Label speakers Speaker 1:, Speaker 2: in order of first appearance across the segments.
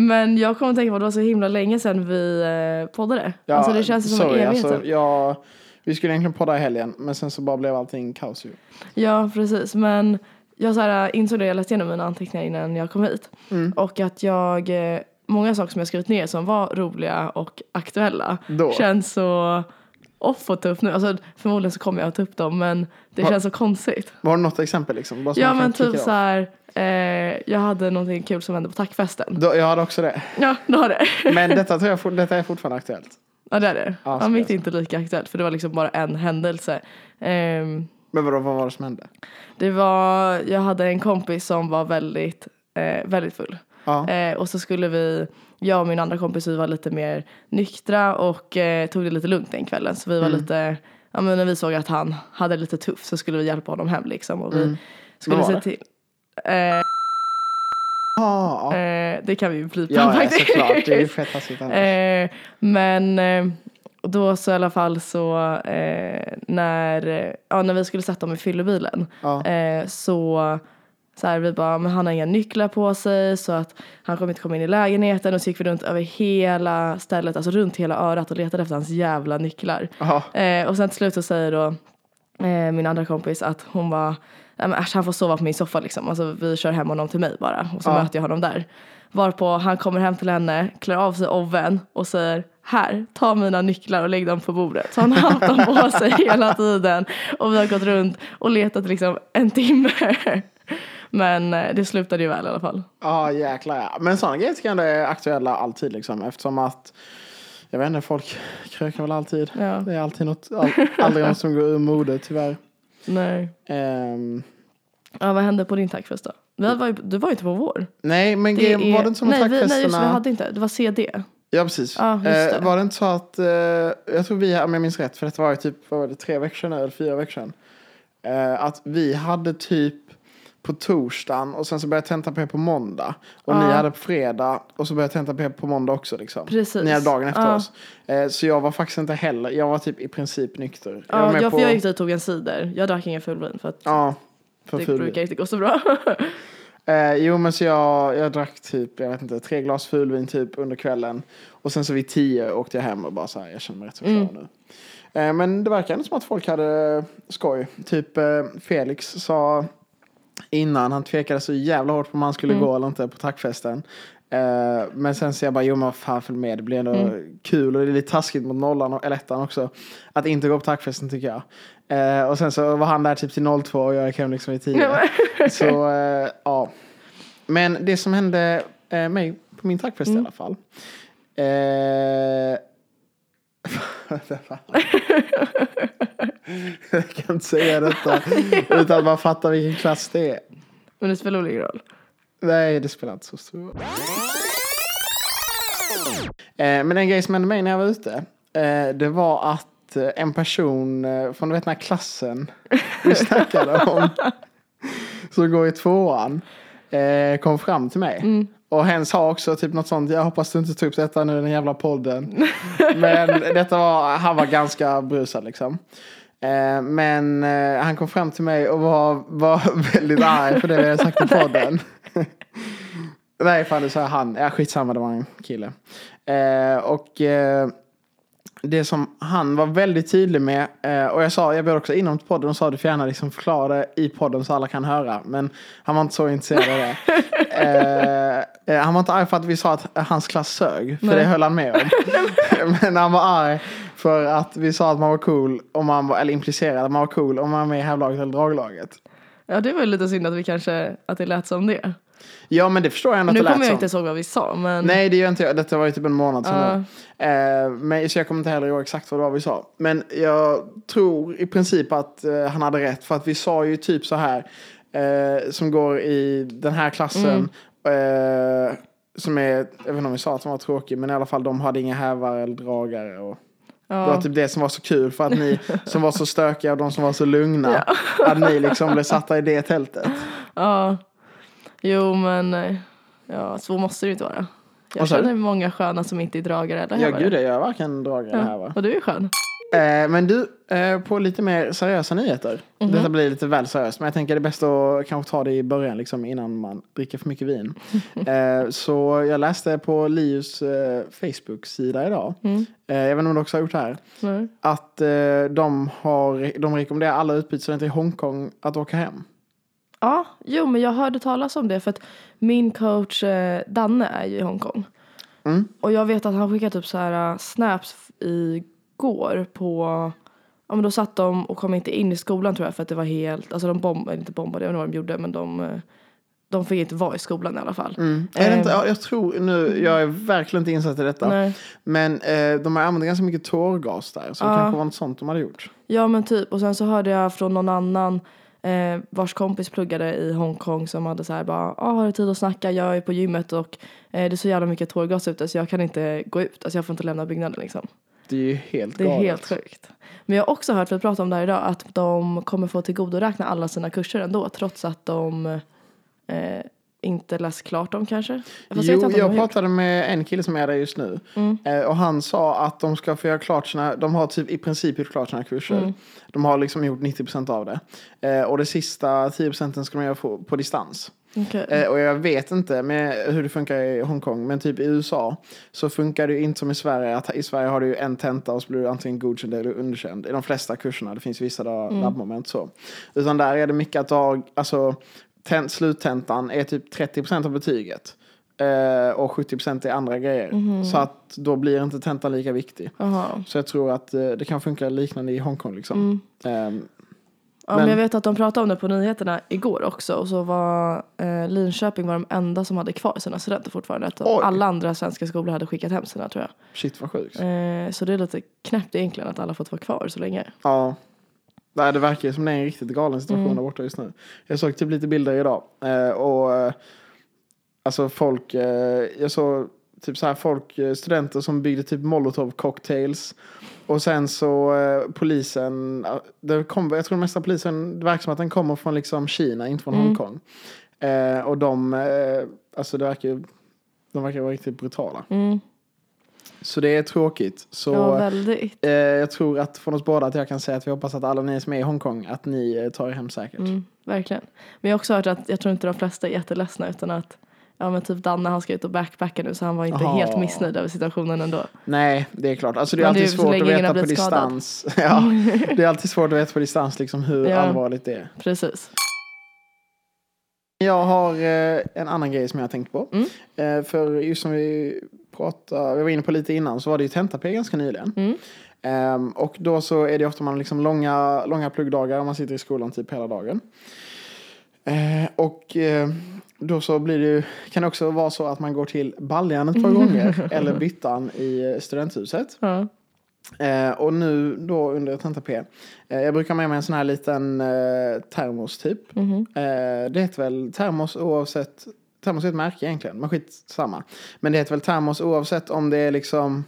Speaker 1: Men jag kommer att tänka på att det var så himla länge sedan vi eh, poddade. alltså det känns som en
Speaker 2: sorry,
Speaker 1: evighet.
Speaker 2: alltså,
Speaker 1: sedan.
Speaker 2: jag, Vi skulle egentligen podda i helgen, men sen så bara blev allting kaos ju.
Speaker 1: Ja, precis. Men jag så här, eh, insåg det, jag läste igenom mina anteckningar innan jag kom hit.
Speaker 2: Mm.
Speaker 1: Och att jag, eh, många saker som jag skrivit ner som var roliga och aktuella
Speaker 2: Då.
Speaker 1: känns så off att ta upp nu. Alltså förmodligen så kommer jag att ta upp dem men det
Speaker 2: Va-
Speaker 1: känns så konstigt.
Speaker 2: Var det något exempel liksom? Bara så
Speaker 1: Ja
Speaker 2: man kan
Speaker 1: men
Speaker 2: kicka
Speaker 1: typ
Speaker 2: av.
Speaker 1: så här, eh, jag hade någonting kul som hände på tackfesten.
Speaker 2: Då, jag hade också det.
Speaker 1: Ja, du har det.
Speaker 2: Men detta, tror jag, for- detta är fortfarande aktuellt.
Speaker 1: ja det är det.
Speaker 2: Ja,
Speaker 1: Ja, mitt
Speaker 2: så-
Speaker 1: är inte lika aktuellt för det var liksom bara en händelse. Ehm,
Speaker 2: Men vadå, vad var det som hände?
Speaker 1: Det var, jag hade en kompis som var väldigt, eh, väldigt full.
Speaker 2: Ja.
Speaker 1: Eh, och så skulle vi, jag och min andra kompis, vi var lite mer nyktra och eh, tog det lite lugnt den kvällen. Så vi
Speaker 2: Mm.
Speaker 1: var lite, ja men när vi såg att han hade det lite tufft så skulle vi hjälpa honom hem liksom. Och vi skulle
Speaker 2: Vad Mm. var
Speaker 1: se
Speaker 2: det?
Speaker 1: till,
Speaker 2: Ah, ja,
Speaker 1: eh, det kan vi ju blipa
Speaker 2: ja, ja,
Speaker 1: faktiskt.
Speaker 2: såklart. Det är ju fett hastigt annars.
Speaker 1: Eh, men eh, då så i alla fall så eh, när, eh, ja, när vi skulle sätta dem i fyllebilen
Speaker 2: Ja.
Speaker 1: eh, så så här, vi bara, men han har inga nycklar på sig så att han kommer inte komma in i lägenheten och så gick vi runt över hela stället, alltså runt hela örat och letade efter hans jävla nycklar.
Speaker 2: Ja.
Speaker 1: Eh, och sen till slut så säger då eh, min andra kompis att hon var Nej, men äsch, han får sova på min soffa liksom. Alltså, vi kör hem honom till mig bara och så
Speaker 2: Ja.
Speaker 1: möter jag honom där. Varpå han kommer hem till henne, klär av sig oven och säger här, ta mina nycklar och lägg dem på bordet. Så han har haft dem på sig hela tiden och vi har gått runt och letat liksom en timme. Men eh, det slutade ju väl i alla fall.
Speaker 2: Ja, jäklar ja. Men sådana grejer tycker jag ändå är aktuella alltid liksom. Eftersom att, jag vet inte, folk krökar väl alltid.
Speaker 1: Ja.
Speaker 2: Det är alltid något, all, aldrig något som går ur mode tyvärr.
Speaker 1: Nej.
Speaker 2: Ehm,
Speaker 1: Ja, vad hände på din tackfest då? Vi var ju, du var ju inte på vår.
Speaker 2: nej, men
Speaker 1: Det
Speaker 2: grejen- var det inte som att
Speaker 1: nej, vi, nej, just det, vi
Speaker 2: tackfesterna...
Speaker 1: hade inte. Det var CD.
Speaker 2: Ja, precis.
Speaker 1: Ja, just det.
Speaker 2: Eh, var det inte så att, eh, jag tror vi, om jag minns rätt, för detta var ju typ, vad var det, tre veckor sedan eller fyra veckor sedan. Eh, att vi hade typ på torsdagen och sen så började tentan på er på måndag. Och ni hade på fredag och så började tentan på er på måndag också liksom.
Speaker 1: Precis.
Speaker 2: Ni hade dagen efter
Speaker 1: Ja.
Speaker 2: oss. Eh, så jag var faktiskt inte heller, jag var typ i princip nykter.
Speaker 1: Ja,
Speaker 2: var med
Speaker 1: jag,
Speaker 2: på,
Speaker 1: för jag gick dit och tog en cider. Jag drack ingen fullvin för att
Speaker 2: Ja, för
Speaker 1: det
Speaker 2: ful.
Speaker 1: brukar inte gå så bra.
Speaker 2: Eh, jo men så jag, jag drack typ, jag vet inte, tre glas fulvin typ under kvällen. Och sen så vid tio åkte jag hem och bara så här, jag känner mig rätt så klar nu. Eh, men det verkar ändå som att folk hade skoj. Typ eh, Felix sa innan, han tvekade så jävla hårt på om han skulle gå eller inte på tackfesten. Eh, men sen så jag bara, jo men vad fan följ med, det blir ändå kul och det är lite taskigt mot nollan och eller ettan också. Att inte gå på tackfesten tycker jag. Eh, och sen så var han där typ till 02 och jag gick hem liksom vid 10. så eh, ja. Men det som hände eh, mig på min tackfest i alla fall. Eh, Vänta, fan. jag kan inte säga detta utan man fattar vilken klass det är.
Speaker 1: Men det spelar väl ingen roll.
Speaker 2: Nej, det spelar inte så stor roll. Eh, Men en grej som hände mig när jag var ute, eh, det var att eh, en person eh, från du vet, den här klassen vi snackade om, som går i tvåan, eh, kom fram till mig. Och hen sa också typ något sånt, jag hoppas du inte tog upp detta nu i den jävla podden. Men detta var, han var ganska brusad liksom. Eh, Men eh, han kom fram till mig och var, var väldigt arg för det vi hade sagt i podden. Nej, fan du sa han. Ja, skitsamma, det var en kille. Eh, och eh, det som han var väldigt tydlig med, eh, och jag sa, jag bjöd också inom till podden och sa du får gärna liksom förklara det i podden så alla kan höra. Men han var inte så intresserad av det. Eh, eh, han var inte arg för att vi sa att hans klass sög, för
Speaker 1: Nej.
Speaker 2: det höll han med om. Men han var arg för att vi sa att man var cool, om man var, eller implicerade att man var cool om man var med i hävlaget eller draglaget.
Speaker 1: Ja, det var ju lite synd att vi kanske, att det lät som det.
Speaker 2: Ja men det förstår jag ändå att
Speaker 1: Nu
Speaker 2: det lät
Speaker 1: kommer jag
Speaker 2: som.
Speaker 1: inte ihåg vad vi sa, men
Speaker 2: Nej, det gör inte jag. Detta var ju typ en månad sedan. nu. Eh, men, så jag kommer inte heller ihåg exakt vad det var vi sa. Men jag tror i princip att eh, han hade rätt. För att vi sa ju typ så här. Eh, som går i den här klassen.
Speaker 1: Mm.
Speaker 2: Eh, som är, jag vet inte om vi sa att de var tråkig. Men i alla fall de hade inga hävar eller dragare. Och, Det var
Speaker 1: ja,
Speaker 2: typ det som var så kul. För att ni som var så stökiga och de som var så lugna. Att ni liksom blev satta i det tältet.
Speaker 1: ja. Jo, men eh, ja, så måste det ju inte vara. Jag
Speaker 2: Vad sa du?
Speaker 1: känner många sköna som inte är dragare eller
Speaker 2: Ja
Speaker 1: hävare.
Speaker 2: gud, jag är varken dragare eller hävar.
Speaker 1: Och du är skön.
Speaker 2: Eh, men du, eh, på lite mer seriösa nyheter.
Speaker 1: Mhm.
Speaker 2: Detta blir lite väl seriöst, men jag tänker det är bäst att kanske ta det i början, liksom, innan man dricker för mycket vin. Eh, så jag läste på Lius eh, Facebook-sida idag,
Speaker 1: Mm.
Speaker 2: eh, jag vet inte om du också har gjort det här,
Speaker 1: Nej.
Speaker 2: att eh, de, har, de rekommenderar alla utbytesstudenter i Hongkong att åka hem.
Speaker 1: Ja, jo men jag hörde talas om det för att min coach eh, Danne är ju i Hongkong.
Speaker 2: Mm.
Speaker 1: Och jag vet att han skickade typ så här eh, snaps f- igår på, ja men då satt de och kom inte in i skolan tror jag för att det var helt, alltså de bombade, inte bombade, jag vet inte vad de gjorde men de, eh, de fick inte vara i skolan i alla fall.
Speaker 2: mm. Är det
Speaker 1: Eh,
Speaker 2: inte, ja, jag tror nu, jag är verkligen inte insatt i detta.
Speaker 1: Nej.
Speaker 2: Men eh, de har använt ganska mycket tårgas där, så det kanske var något sånt de hade gjort.
Speaker 1: Ja men typ och sen så hörde jag från någon annan eh, vars kompis pluggade i Hongkong som hade så här bara ah, har du tid att snacka jag är på gymmet och eh, det är så jävla mycket tårgas ute så jag kan inte gå ut, alltså jag får inte lämna byggnaden liksom.
Speaker 2: Det är ju helt
Speaker 1: Det är
Speaker 2: galet.
Speaker 1: helt sjukt. Men jag har också hört, för vi pratade om det här idag, att de kommer få tillgodoräkna alla sina kurser ändå trots att de eh, inte läst klart dem kanske. Fast vet
Speaker 2: Jo,
Speaker 1: inte om
Speaker 2: jag
Speaker 1: de har gjort.
Speaker 2: pratade med en kille som är där just nu. Eh, Och han sa att de ska få göra klart sina, de har typ i princip gjort klart sina kurser. De har liksom gjort 90% av det. Eh, Och det sista 10% ska de göra på, på distans.
Speaker 1: Okej.
Speaker 2: Eh, Och jag vet inte med hur det funkar i Hongkong, men typ i USA så funkar det ju inte som i Sverige. Att I Sverige har du ju en tenta och så blir du antingen godkänd eller underkänd. I de flesta kurserna, det finns vissa där labbmoment så. Utan där är det mycket att ha, alltså tent, sluttentan är typ 30% av betyget. Eh, och 70% är andra grejer. Så att då blir inte tentan lika viktig.
Speaker 1: Jaha.
Speaker 2: Så jag tror att eh, det kan funka liknande i Hongkong liksom. Ehm,
Speaker 1: Ja, men
Speaker 2: Men-
Speaker 1: jag vet att de pratade om det på nyheterna igår också och så var eh, Linköping var de enda som hade kvar sina studenter fortfarande. Att de-
Speaker 2: Oj.
Speaker 1: alla andra svenska skolor hade skickat hem sina tror jag.
Speaker 2: shit vad sjukt.
Speaker 1: Eh, så det är lite knäppt egentligen att alla fått vara kvar så länge.
Speaker 2: Ja. Nej, det verkar ju som det är en riktigt galen situation där borta just nu. Jag såg typ lite bilder idag. eh, Och eh, alltså folk, eh, jag såg typ så här folk, eh, studenter som byggde typ molotov cocktails. Och sen så eh, polisen, eh, det kom, jag tror den mesta polisen, det verkar som att den kommer från liksom Kina, inte från Hongkong. Eh, och de, eh, alltså det verkar ju, de verkar vara riktigt brutala.
Speaker 1: Mm.
Speaker 2: Så det är tråkigt. Så,
Speaker 1: ja, väldigt.
Speaker 2: Eh, jag tror att från oss båda att jag kan säga att vi hoppas att alla ni som är i Hongkong att ni eh, tar er hem säkert.
Speaker 1: Mm, verkligen. Men jag har också hört att jag tror inte de flesta är jätteledsna utan att ja men typ Danne han ska ut och backpacka nu så han var inte
Speaker 2: Aha.
Speaker 1: helt missnöjd över situationen ändå.
Speaker 2: Nej, det är klart. Alltså det är
Speaker 1: Men
Speaker 2: alltid
Speaker 1: det är så
Speaker 2: svårt
Speaker 1: länge
Speaker 2: att
Speaker 1: ingen
Speaker 2: veta
Speaker 1: har
Speaker 2: på
Speaker 1: blivit skadad.
Speaker 2: distans. ja, det är alltid svårt att veta på distans liksom hur
Speaker 1: Ja.
Speaker 2: allvarligt det är.
Speaker 1: Precis.
Speaker 2: Jag har eh, en annan grej som jag har tänkt på. Eh, för just som vi pratade, vi var inne på lite innan, så var det ju tentapel ganska nyligen. Ehm, och då så är det ofta man har liksom långa, långa pluggdagar och man sitter i skolan typ hela dagen. Eh, och eh, då så blir det ju, kan det också vara så att man går till baljan ett par gånger eller byttan i eh, studenthuset.
Speaker 1: Ja.
Speaker 2: Eh, och nu då under tenta P. Eh, jag brukar ha med mig en sån här liten eh, termos typ. Eh, det heter väl termos oavsett. Termos är ett märke egentligen, men skitsamma. Men det heter väl termos oavsett om det är liksom.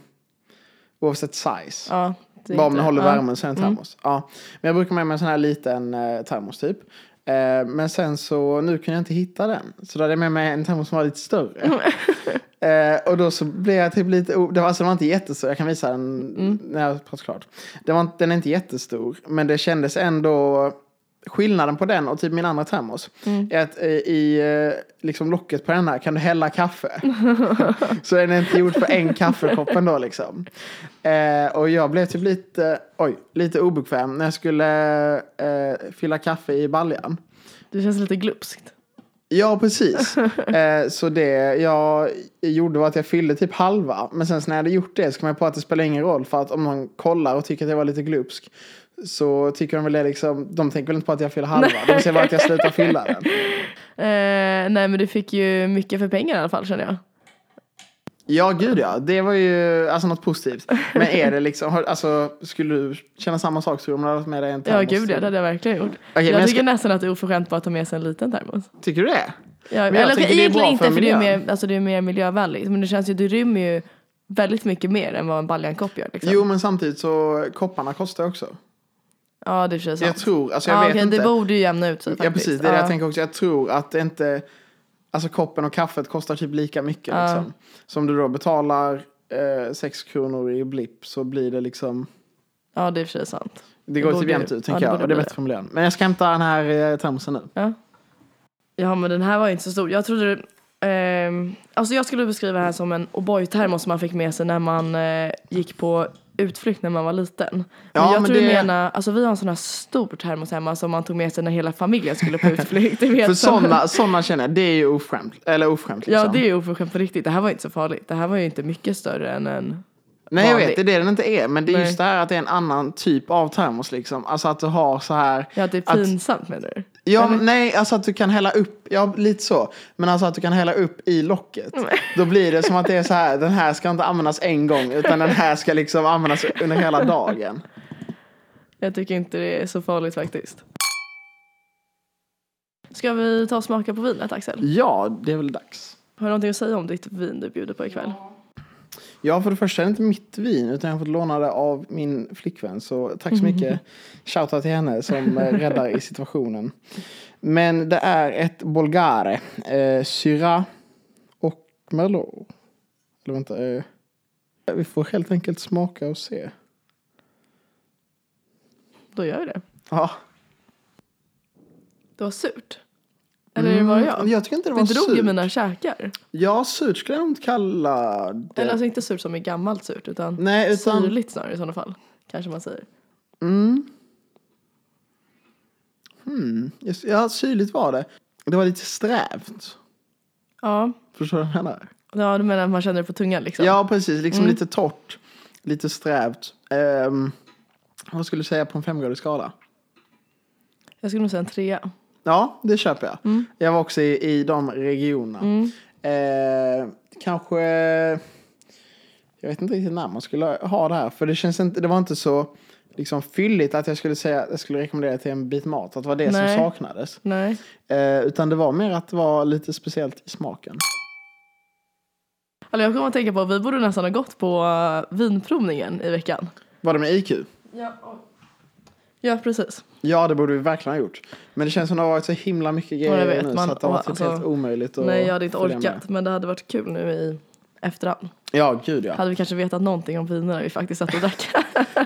Speaker 2: Oavsett size.
Speaker 1: ja det är
Speaker 2: Bara om
Speaker 1: inte-
Speaker 2: den håller
Speaker 1: ja. Mm.
Speaker 2: värmen så är det en termos. Ja. Men jag brukar ha med mig en sån här liten eh, termos typ. Eh, men sen så, nu kunde jag inte hitta den. Så då hade jag med mig en termos som var lite större.
Speaker 1: Mm.
Speaker 2: eh, och då så blev jag typ lite, o- det var, alltså, den var inte jättestor, jag kan visa den
Speaker 1: Mm.
Speaker 2: när jag pratar klart. Den, var, inte- den är inte jättestor, men det kändes ändå Skillnaden på den och typ min andra termos
Speaker 1: Mm.
Speaker 2: är att eh, i eh, liksom locket på den här kan du hälla kaffe. Så den är inte gjord för en kaffekopp ändå liksom. Eh, och jag blev typ lite, oj, lite obekväm när jag skulle eh, fylla kaffe i baljan.
Speaker 1: Det känns lite glupskt.
Speaker 2: Ja, precis. Eh, så det jag gjorde var att jag fyllde typ halva. Men sen så när jag hade gjort det så kom jag på att det spelar ingen roll. För att om någon kollar och tycker att jag var lite glupsk så tycker de väl det liksom. De tänker väl inte på att jag fyller halva. De ser bara att jag slutar fylla den.
Speaker 1: Eh, nej men du fick ju mycket för pengar i alla fall känner jag.
Speaker 2: Ja, gud ja. Det var ju alltså, något positivt. Men är det liksom, har- alltså, skulle du känna samma sak tror du om du hade haft med dig en
Speaker 1: Ja
Speaker 2: termos?
Speaker 1: gud ja, det hade jag verkligen gjort.
Speaker 2: men
Speaker 1: jag
Speaker 2: jag
Speaker 1: tycker
Speaker 2: ska-
Speaker 1: nästan att det är oförskämt bara att ta med sig en liten termos.
Speaker 2: Tycker du det?
Speaker 1: Ja,
Speaker 2: jag
Speaker 1: eller
Speaker 2: tycker det är
Speaker 1: egentligen
Speaker 2: bra
Speaker 1: inte
Speaker 2: för
Speaker 1: för det är,
Speaker 2: miljön.
Speaker 1: mer, alltså, det är mer miljövänligt. Men det känns ju, du rymmer ju väldigt mycket mer än vad en baljankopp gör liksom.
Speaker 2: Jo, men samtidigt så kopparna kostar också.
Speaker 1: Ja det känns
Speaker 2: Jag tror, alltså jag
Speaker 1: ja,
Speaker 2: vet
Speaker 1: okej,
Speaker 2: inte.
Speaker 1: Det borde ju jämna ut sig
Speaker 2: ja,
Speaker 1: faktiskt.
Speaker 2: precis. Det är det jag tänker också. Jag tror att det inte, alltså koppen och kaffet kostar typ lika mycket.
Speaker 1: Ja.
Speaker 2: Liksom. Så om du då betalar eh, 6 kronor i blipp så blir det liksom
Speaker 1: Ja, det är i och för sig sant.
Speaker 2: Det går
Speaker 1: borde-
Speaker 2: typ jämnt
Speaker 1: ja,
Speaker 2: ut tänker
Speaker 1: det
Speaker 2: jag.
Speaker 1: borde
Speaker 2: Och det är
Speaker 1: bli
Speaker 2: bättre för miljön. Men jag ska hämta den här eh, termosen nu.
Speaker 1: Ja. ja, men den här var ju inte så stor. Jag trodde... ehm, alltså jag skulle beskriva det här som en O'boy-termos som man fick med sig när man eh, gick på utflykt när man var liten. Men
Speaker 2: Ja,
Speaker 1: jag
Speaker 2: men
Speaker 1: tror du
Speaker 2: det-
Speaker 1: menar, alltså vi har en sån här stor termos hemma som man tog med sig när hela familjen skulle på utflykt. Det vet
Speaker 2: För
Speaker 1: jag.
Speaker 2: sådana, sådana känner jag, det är ju ofrämt. Eller ofrämt liksom.
Speaker 1: Ja, det är ju oförskämt på riktigt. Det här var inte så farligt. Det här var ju inte mycket större än en...
Speaker 2: Nej jag vet,
Speaker 1: vanlig.
Speaker 2: det är det den inte är. Men det är
Speaker 1: Nej.
Speaker 2: just det här att det är en annan typ av termos liksom. Alltså att du har så här.
Speaker 1: Ja, det är
Speaker 2: Att-
Speaker 1: pinsamt menar du?
Speaker 2: Ja,
Speaker 1: Eller?
Speaker 2: nej, alltså att du kan hälla upp, ja lite så. Men alltså att du kan hälla upp i locket. Då blir det som att det är så här, den här ska inte användas en gång. Utan den här ska liksom användas under hela dagen.
Speaker 1: Jag tycker inte det är så farligt faktiskt. Ska vi ta och smaka på vinet Axel?
Speaker 2: Ja, det är väl dags.
Speaker 1: Har du någonting att säga om ditt vin du bjuder på ikväll?
Speaker 2: Ja, för det första är det inte mitt vin utan jag har fått låna det av min flickvän. Så tack så mycket. Shoutout till henne som eh, räddar i situationen. Men det är ett Bolgare. Eh, Syrah och Merlot. Eller vänta. Eh, vi får helt enkelt smaka och se.
Speaker 1: Då gör vi det.
Speaker 2: Ja.
Speaker 1: Det var surt. Eller det var jag?
Speaker 2: Mm, Jag tycker inte det
Speaker 1: det
Speaker 2: var
Speaker 1: drog i
Speaker 2: surt.
Speaker 1: mina käkar.
Speaker 2: Ja, surt skulle jag nog inte kalla det.
Speaker 1: Eller alltså inte surt som är gammalt surt utan,
Speaker 2: Nej, utan- Mm.
Speaker 1: syrligt snarare i sådana fall. Kanske man säger.
Speaker 2: Hmm. Just- Ja, syrligt var det. Det var lite strävt.
Speaker 1: Ja,
Speaker 2: Förstår du vad jag menar?
Speaker 1: ja du menar att man känner det på tungan liksom?
Speaker 2: Ja, precis. Liksom lite torrt, lite strävt. Ehm, vad skulle du säga på en femgradig skala?
Speaker 1: Jag skulle nog säga en trea.
Speaker 2: Ja, det köper jag.
Speaker 1: Mm.
Speaker 2: Jag var också i, i de regionerna. Ehm, kanske... Jag vet inte riktigt när man skulle ha det här. För det, känns inte, det var inte så liksom, fylligt att jag skulle säga jag skulle rekommendera till en bit mat. Att det var det
Speaker 1: Nej.
Speaker 2: som saknades.
Speaker 1: Nej.
Speaker 2: Ehm, utan det var mer att det var lite speciellt i smaken.
Speaker 1: Alltså jag kommer att tänka på att vi borde nästan ha gått på eh, vinprovningen i veckan.
Speaker 2: Var det med IQ?
Speaker 1: Ja, ja precis.
Speaker 2: Ja, det borde vi verkligen ha gjort. Men det känns som det har varit så himla mycket
Speaker 1: Ja,
Speaker 2: grejer
Speaker 1: jag vet,
Speaker 2: nu
Speaker 1: man-
Speaker 2: så att det har varit typ
Speaker 1: alltså,
Speaker 2: helt omöjligt att
Speaker 1: Nej jag hade inte
Speaker 2: följa med.
Speaker 1: orkat men det hade varit kul nu i efterhand.
Speaker 2: Ja, gud ja.
Speaker 1: Hade vi kanske vetat någonting om vinerna vi faktiskt satt och drack.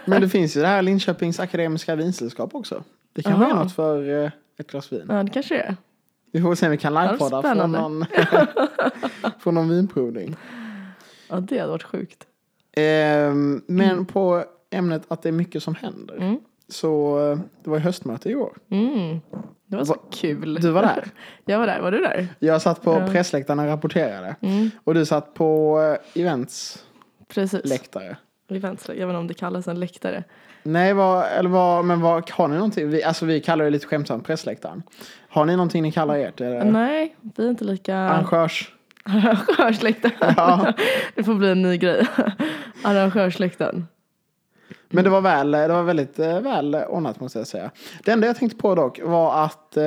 Speaker 2: Men det finns ju det här Linköpings Akademiska Vinsällskap också. Det kan
Speaker 1: Jaha.
Speaker 2: vara något för eh, ett glas vin.
Speaker 1: ja det kanske det är.
Speaker 2: Vi får se om vi kan livepodda
Speaker 1: Ja,
Speaker 2: från
Speaker 1: spännande.
Speaker 2: någon, från någon vinprovning.
Speaker 1: Ja det hade varit sjukt.
Speaker 2: Ehm, men
Speaker 1: Mm.
Speaker 2: på ämnet att det är mycket som händer. Så eh, det var ju höstmöte i år.
Speaker 1: Mm. Det var så kul.
Speaker 2: Du var där.
Speaker 1: Jag var där, var du där?
Speaker 2: Jag satt på pressläktaren och rapporterade.
Speaker 1: Mm.
Speaker 2: Och du satt på eh, eventsläktare.
Speaker 1: Precis. Eventsläktare. Jag vet inte om det kallas en läktare.
Speaker 2: Nej, vad, eller vad, men vad, har ni någonting? Vi, alltså vi kallar det lite skämtsamt pressläktaren. Har ni någonting ni kallar ert? Eller?
Speaker 1: Nej, vi är inte lika
Speaker 2: Arrangörs?
Speaker 1: arrangörsläktaren.
Speaker 2: Ja.
Speaker 1: Det får bli en ny grej. Arrangörsläktaren.
Speaker 2: Men det
Speaker 1: Mm.
Speaker 2: var, väl, det var väldigt eh, väl ordnat måste jag säga. Det enda jag tänkte på dock var att eh,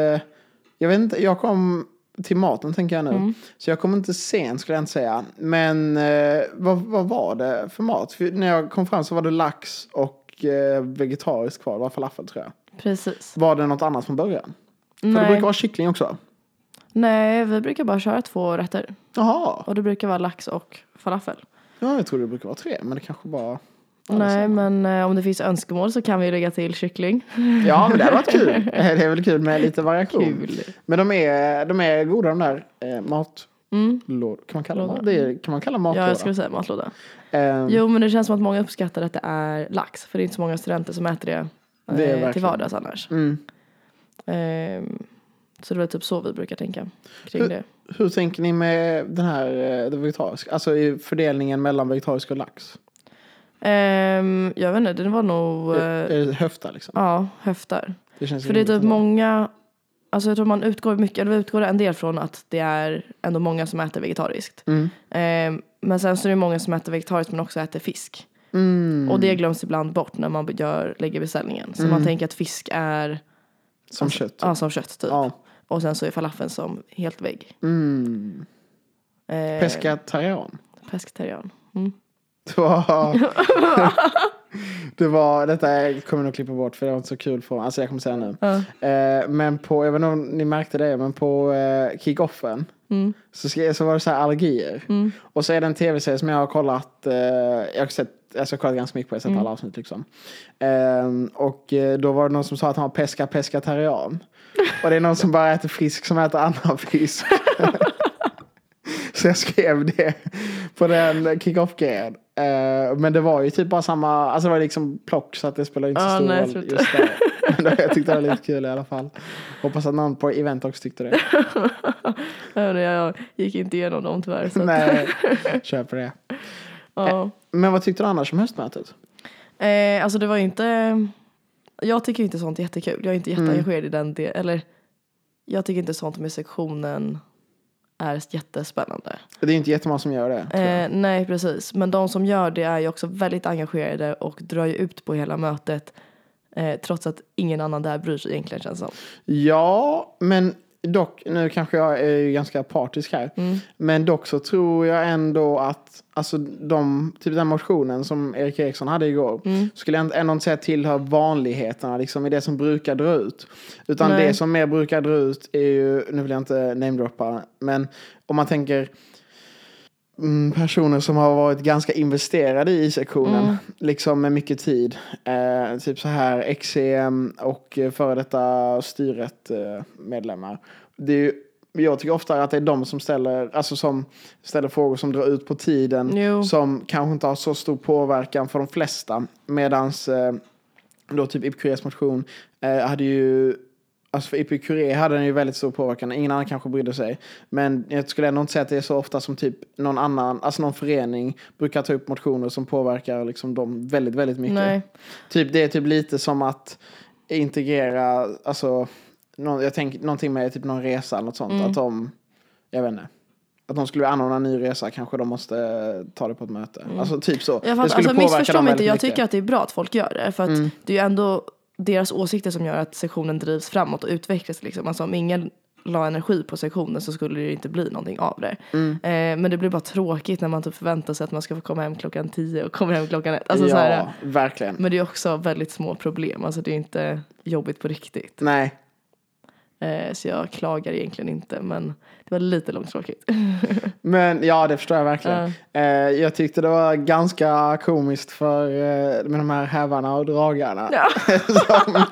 Speaker 2: jag vet inte, jag kom till maten tänker jag nu.
Speaker 1: Mm.
Speaker 2: Så jag kom inte sent skulle jag inte säga. Men eh, vad, vad var det för mat? För när jag kom fram så var det lax och eh, vegetariskt kvar. Det var falafel tror jag.
Speaker 1: Precis.
Speaker 2: Var det något annat från början? För det
Speaker 1: Nej.
Speaker 2: brukar vara kyckling också.
Speaker 1: Nej, vi brukar bara köra två rätter.
Speaker 2: Jaha.
Speaker 1: Och det brukar vara lax och falafel.
Speaker 2: Ja, jag tror det brukar vara tre, men det kanske bara...
Speaker 1: Nej, men eh, om det finns önskemål så kan vi lägga till kyckling.
Speaker 2: Ja, men det hade varit kul. Det är väl kul med lite variation.
Speaker 1: Kul.
Speaker 2: Men de är, de är goda de där eh, mat... Lå- Kan man kalla
Speaker 1: Lådor.
Speaker 2: mat? Det är, kan man kalla mat
Speaker 1: Mm. Ja, jag skulle säga matlåda.
Speaker 2: Ehm,
Speaker 1: Jo, men det känns som att många uppskattar att det är lax. För det är inte så många studenter som äter det, eh,
Speaker 2: Det är
Speaker 1: till
Speaker 2: verkligen-
Speaker 1: vardags annars.
Speaker 2: mm.
Speaker 1: Ehm, så det var typ så vi brukar tänka kring det.
Speaker 2: hur, hur tänker ni med den här eh, det vegetariska? Alltså i fördelningen mellan vegetarisk och lax?
Speaker 1: Ehm, jag vet inte, det var nog
Speaker 2: är,
Speaker 1: eh,
Speaker 2: är det höfta liksom?
Speaker 1: ja, höftar.
Speaker 2: Det känns
Speaker 1: För det är typ
Speaker 2: rimligt ändå.
Speaker 1: många, alltså jag tror man utgår mycket, eller vi utgår en del från att det är ändå många som äter vegetariskt.
Speaker 2: Mm.
Speaker 1: Ehm, men sen så är det många som äter vegetariskt men också äter fisk.
Speaker 2: Mm,
Speaker 1: Och det glöms ibland bort när man gör, lägger beställningen. Så man tänker att fisk är
Speaker 2: som kött.
Speaker 1: Alltså, ja, som kött typ.
Speaker 2: Typ. Ja.
Speaker 1: Och sen så är falafeln som helt vägg.
Speaker 2: Mm.
Speaker 1: Ehm,
Speaker 2: Pescatarian.
Speaker 1: Pescetarian. Mm.
Speaker 2: Det var- Det var, detta är- kommer jag nog klippa bort för det var inte så kul för Alltså jag kommer säga nu.
Speaker 1: Ja.
Speaker 2: Eh, men på, jag vet inte om ni märkte det, men på eh, kickoffen
Speaker 1: Mm.
Speaker 2: så, ska- så var det så här allergier. Och så är det en tv-serie som jag har kollat, eh, jag har sett Alltså jag har kollat ganska mycket på det, jag har
Speaker 1: Mm.
Speaker 2: sett alla avsnitt liksom. Ehm, och eh, då var det någon som sa att han var pesca pescatarian. Och det är någon som bara äter fisk som äter annan fisk. Så jag skrev det på den kick-off-grejen. Eh, men det var ju typ bara samma, alltså det var liksom plock så att det spelar inte så
Speaker 1: Ja,
Speaker 2: stor
Speaker 1: Ah, nej, jag
Speaker 2: roll
Speaker 1: tror inte.
Speaker 2: just där. Men det- jag tyckte det var lite kul i alla fall. Hoppas att någon på event också tyckte det.
Speaker 1: Jag, jag gick inte igenom dem tyvärr. Så att,
Speaker 2: Nej, kör på det.
Speaker 1: ja.
Speaker 2: Men vad tyckte du annars om höstmötet?
Speaker 1: eh, alltså det var ju inte... Jag tycker inte sånt är jättekul. Jag är inte
Speaker 2: Mm.
Speaker 1: jätteengagerad i den delen. Eller jag tycker inte sånt med sektionen är jättespännande.
Speaker 2: Det är ju inte jättemånga som gör det. tror jag.
Speaker 1: Eh, nej, precis. Men de som gör det är ju också väldigt engagerade och drar ju ut på hela mötet eh, trots att ingen annan där bryr sig egentligen känns det som.
Speaker 2: Ja, men dock, nu kanske jag är ju ganska partisk här.
Speaker 1: Mm.
Speaker 2: Men dock så tror jag ändå att, alltså de, typ den motionen som Erik Eriksson hade igår,
Speaker 1: Mm.
Speaker 2: skulle jag ändå inte säga tillhör vanligheterna, liksom i det som brukar dra ut. Utan
Speaker 1: Nej.
Speaker 2: det som mer brukar dra ut är ju, nu vill jag inte namedroppa, men om man tänker mm, personer som har varit ganska investerade i sektionen. Liksom med mycket tid. Eh, typ så här XCM och eh, före detta styret eh, medlemmar. Det är ju, jag tycker ofta att det är de som ställer, alltså som ställer frågor som drar ut på tiden.
Speaker 1: Jo.
Speaker 2: Som kanske inte har så stor påverkan för de flesta. Medans eh, då typ Epicurés motion eh, hade ju Alltså för Epicuré hade den ju väldigt stor påverkan. Ingen annan kanske brydde sig. Men jag skulle ändå inte säga att det är så ofta som typ någon annan, alltså någon förening brukar ta upp motioner som påverkar liksom dem väldigt, väldigt mycket.
Speaker 1: Nej.
Speaker 2: Typ, det är typ lite som att integrera, alltså, någon, jag tänker någonting med typ någon resa eller något sånt.
Speaker 1: Mm.
Speaker 2: Att de, jag vet inte. Att de skulle anordna en ny resa kanske de måste eh, ta det på ett möte. Alltså typ så.
Speaker 1: Mm. Jag fattar, alltså,
Speaker 2: påverka
Speaker 1: missförstå
Speaker 2: dem
Speaker 1: mig inte,
Speaker 2: väldigt
Speaker 1: jag
Speaker 2: mycket. Mm.
Speaker 1: tycker att det är bra att folk gör det. För att det är ju ändå deras åsikter som gör att sektionen drivs framåt och utvecklas. Liksom. Alltså, om ingen la energi på sektionen så skulle det ju inte bli någonting av det.
Speaker 2: Mm.
Speaker 1: Eh, men det blir bara tråkigt när man typ förväntar sig att man ska få komma hem klockan tio och komma hem klockan ett. Alltså,
Speaker 2: ja,
Speaker 1: så här,
Speaker 2: verkligen.
Speaker 1: men det är också väldigt små problem, alltså det är inte jobbigt på riktigt.
Speaker 2: Nej,
Speaker 1: Eh, så jag klagar egentligen inte men det var lite långtråkigt.
Speaker 2: Men ja, det förstår jag verkligen. Eh, jag tyckte det var ganska komiskt för eh, med de här hävarna och dragarna.
Speaker 1: Ja.
Speaker 2: som bara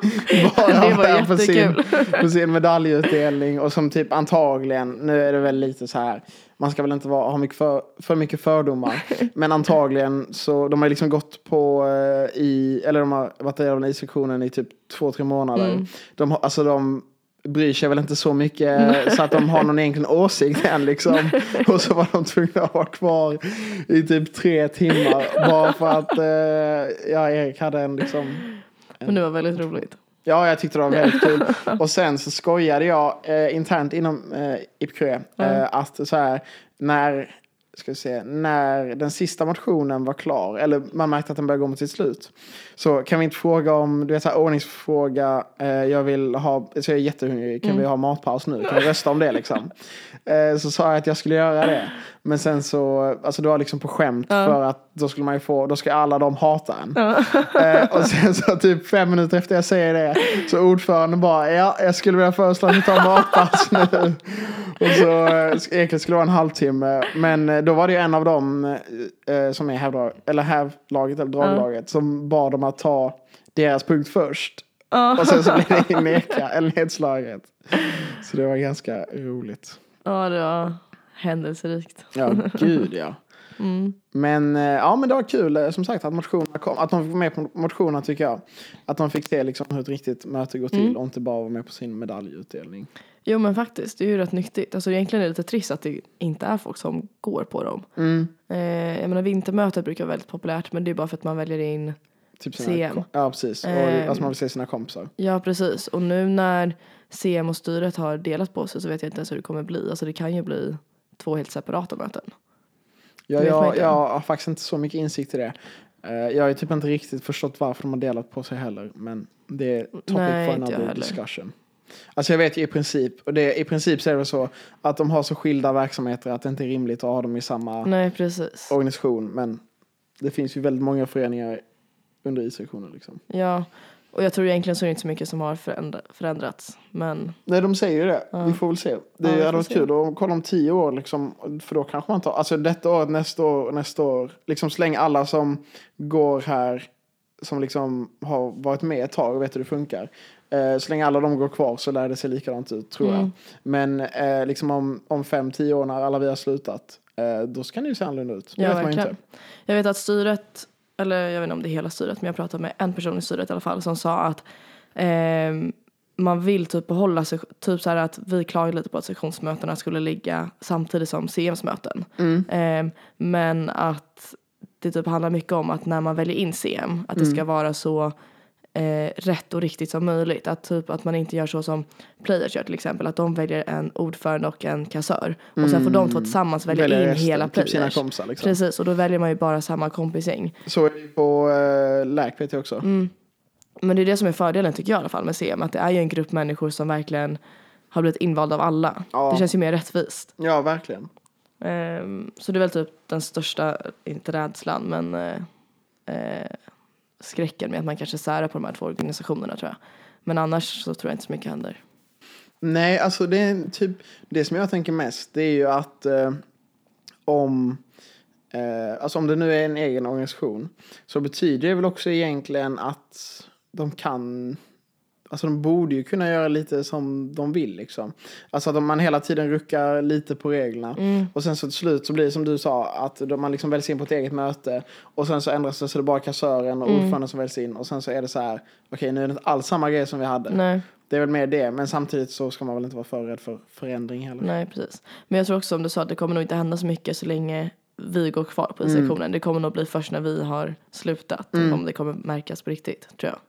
Speaker 1: Det var
Speaker 2: där på sin,
Speaker 1: jättekul.
Speaker 2: på sin medaljutdelning och som typ antagligen, nu är det väl lite så här, man ska väl inte vara, ha mycket för, för mycket fördomar. Men antagligen så, de har ju liksom gått på eh, i, eller de har varit i i sektionen i typ två, tre månader.
Speaker 1: Mm.
Speaker 2: De, har- alltså de bryr sig väl inte så mycket så att de har någon egen åsikt än liksom. Och så var de tvungna att vara kvar i typ tre timmar bara för att eh, ja, Erik hade en liksom
Speaker 1: Men det var väldigt roligt.
Speaker 2: Ja, jag tyckte det var väldigt kul. Och sen så skojade jag eh, internt inom eh, IPQE eh, att så här, när, ska vi se, när den sista motionen var klar, eller man märkte att den började gå mot sitt slut, så kan vi inte fråga om, du vet så här ordningsfråga, eh, jag vill ha, så jag är jättehungrig, kan vi ha matpaus nu? Kan vi rösta om det liksom? Eh, så sa jag att jag skulle göra det. Men sen så, alltså det var liksom på skämt för att då skulle man ju få, då ska alla de hata en. Eh, och sen så typ fem minuter efter jag säger det så ordföranden bara ja, jag skulle vilja föreslå att ni tar matpass nu. Och så eh, egentligen skulle det vara en halvtimme. Men eh, då var det ju en av dem eh, som är hävdrag, eller hävlaget eller draglaget som bad dem att ta deras punkt först. Och sen så blev det neka, eller nedslaget. Så det var ganska roligt.
Speaker 1: Ja det var händelserikt.
Speaker 2: Ja, gud ja. Men, eh, ja, men det var kul eh, som sagt att motionerna kom. Att de fick med på motionerna tycker jag. Att de fick se liksom, hur ett riktigt möte går till
Speaker 1: Mm.
Speaker 2: och inte bara vara med på sin medaljutdelning.
Speaker 1: Jo men faktiskt, det är ju rätt nyttigt. Alltså egentligen är det lite trist att det inte är folk som går på dem. Eh, jag menar vintermötet brukar vara väldigt populärt men det är bara för att man väljer in
Speaker 2: Typ
Speaker 1: CM.
Speaker 2: kom- Ja, precis. Och,
Speaker 1: Ehm.
Speaker 2: alltså man vill se sina kompisar.
Speaker 1: Ja precis och nu när CM och styret har delat på sig så vet jag inte ens hur det kommer bli. Alltså det kan ju bli två helt separata möten.
Speaker 2: Ja,
Speaker 1: vet man
Speaker 2: jag,
Speaker 1: inte.
Speaker 2: jag har faktiskt inte så mycket insikt i det. Eh, Jag har ju typ inte riktigt förstått varför de har delat på sig heller. Men det är topic
Speaker 1: Nej,
Speaker 2: for
Speaker 1: inte jag
Speaker 2: another
Speaker 1: heller.
Speaker 2: discussion. Alltså jag vet ju i princip, och det, i princip så är det väl så att de har så skilda verksamheter att det inte är rimligt att ha dem i samma
Speaker 1: Nej precis.
Speaker 2: organisation. Men det finns ju väldigt många föreningar under instruktioner liksom.
Speaker 1: Ja, och jag tror egentligen så är det inte så mycket som har förändra- förändrats. Men
Speaker 2: Nej, de säger ju det.
Speaker 1: Ja.
Speaker 2: Vi får väl se. Det
Speaker 1: vi får
Speaker 2: hade varit
Speaker 1: se.
Speaker 2: kul att kolla om tio år liksom. För då kanske man tar, alltså detta året, nästa år, nästa år. Liksom släng alla som går här, som liksom har varit med ett tag och vet hur det funkar. Eh, så länge alla de går kvar så lär det sig likadant ut tror jag.
Speaker 1: Mm.
Speaker 2: Men eh, liksom om, om fem, tio år när alla vi har slutat, eh, då ska det ju se annorlunda ut. Det
Speaker 1: ja,
Speaker 2: vet man ju
Speaker 1: verkligen.
Speaker 2: inte.
Speaker 1: Jag vet att styret, eller jag vet inte om det är hela styret, men jag pratade med en person i styret i alla fall som sa att ehm, man vill typ behålla sig, typ så här att vi klagade lite på att sektionsmötena skulle ligga samtidigt som CMs möten.
Speaker 2: Mm.
Speaker 1: Ehm, men att det typ handlar mycket om att när man väljer in CM, att det
Speaker 2: Mm.
Speaker 1: ska vara så eh, rätt och riktigt som möjligt. Att, typ, att man inte gör så som players gör till exempel, att de väljer en ordförande och en kassör. Och sen får de två tillsammans välja,
Speaker 2: Mm. Välja
Speaker 1: in
Speaker 2: resten,
Speaker 1: hela
Speaker 2: typ
Speaker 1: players.
Speaker 2: sina kompisar liksom.
Speaker 1: Precis, och då väljer man ju bara samma kompisgäng.
Speaker 2: Så är det ju på eh, läk-PT också.
Speaker 1: Men det är det som är fördelen tycker jag i alla fall med CM, att det är ju en grupp människor som verkligen har blivit invald av alla.
Speaker 2: Ja.
Speaker 1: Det känns ju mer rättvist.
Speaker 2: Ja, verkligen.
Speaker 1: Ehm, så det är väl typ den största, inte rädslan, men eh, eh, skräcken med att man kanske särar på de här två organisationerna tror jag. Men annars så tror jag inte så mycket händer.
Speaker 2: Nej, alltså det är typ det som jag tänker mest det är ju att eh, om eh, alltså om det nu är en egen organisation så betyder det väl också egentligen att de kan alltså de borde ju kunna göra lite som de vill liksom. Alltså att om man hela tiden ruckar lite på reglerna och sen så till slut så blir det som du sa att de- man liksom väljs in på ett eget möte och sen så ändras det så det är bara kassören och ordföranden som väljs in och sen så är det så här okej nu är det inte alls samma grej som vi hade.
Speaker 1: Nej,
Speaker 2: Det är väl mer det, men samtidigt så ska man väl inte vara för rädd för förändring heller.
Speaker 1: nej precis. Men jag tror också som du sa att det kommer nog inte hända så mycket så länge vi går kvar på
Speaker 2: Mm.
Speaker 1: sektionen. Det kommer nog bli först när vi har slutat om det kommer märkas på riktigt tror jag.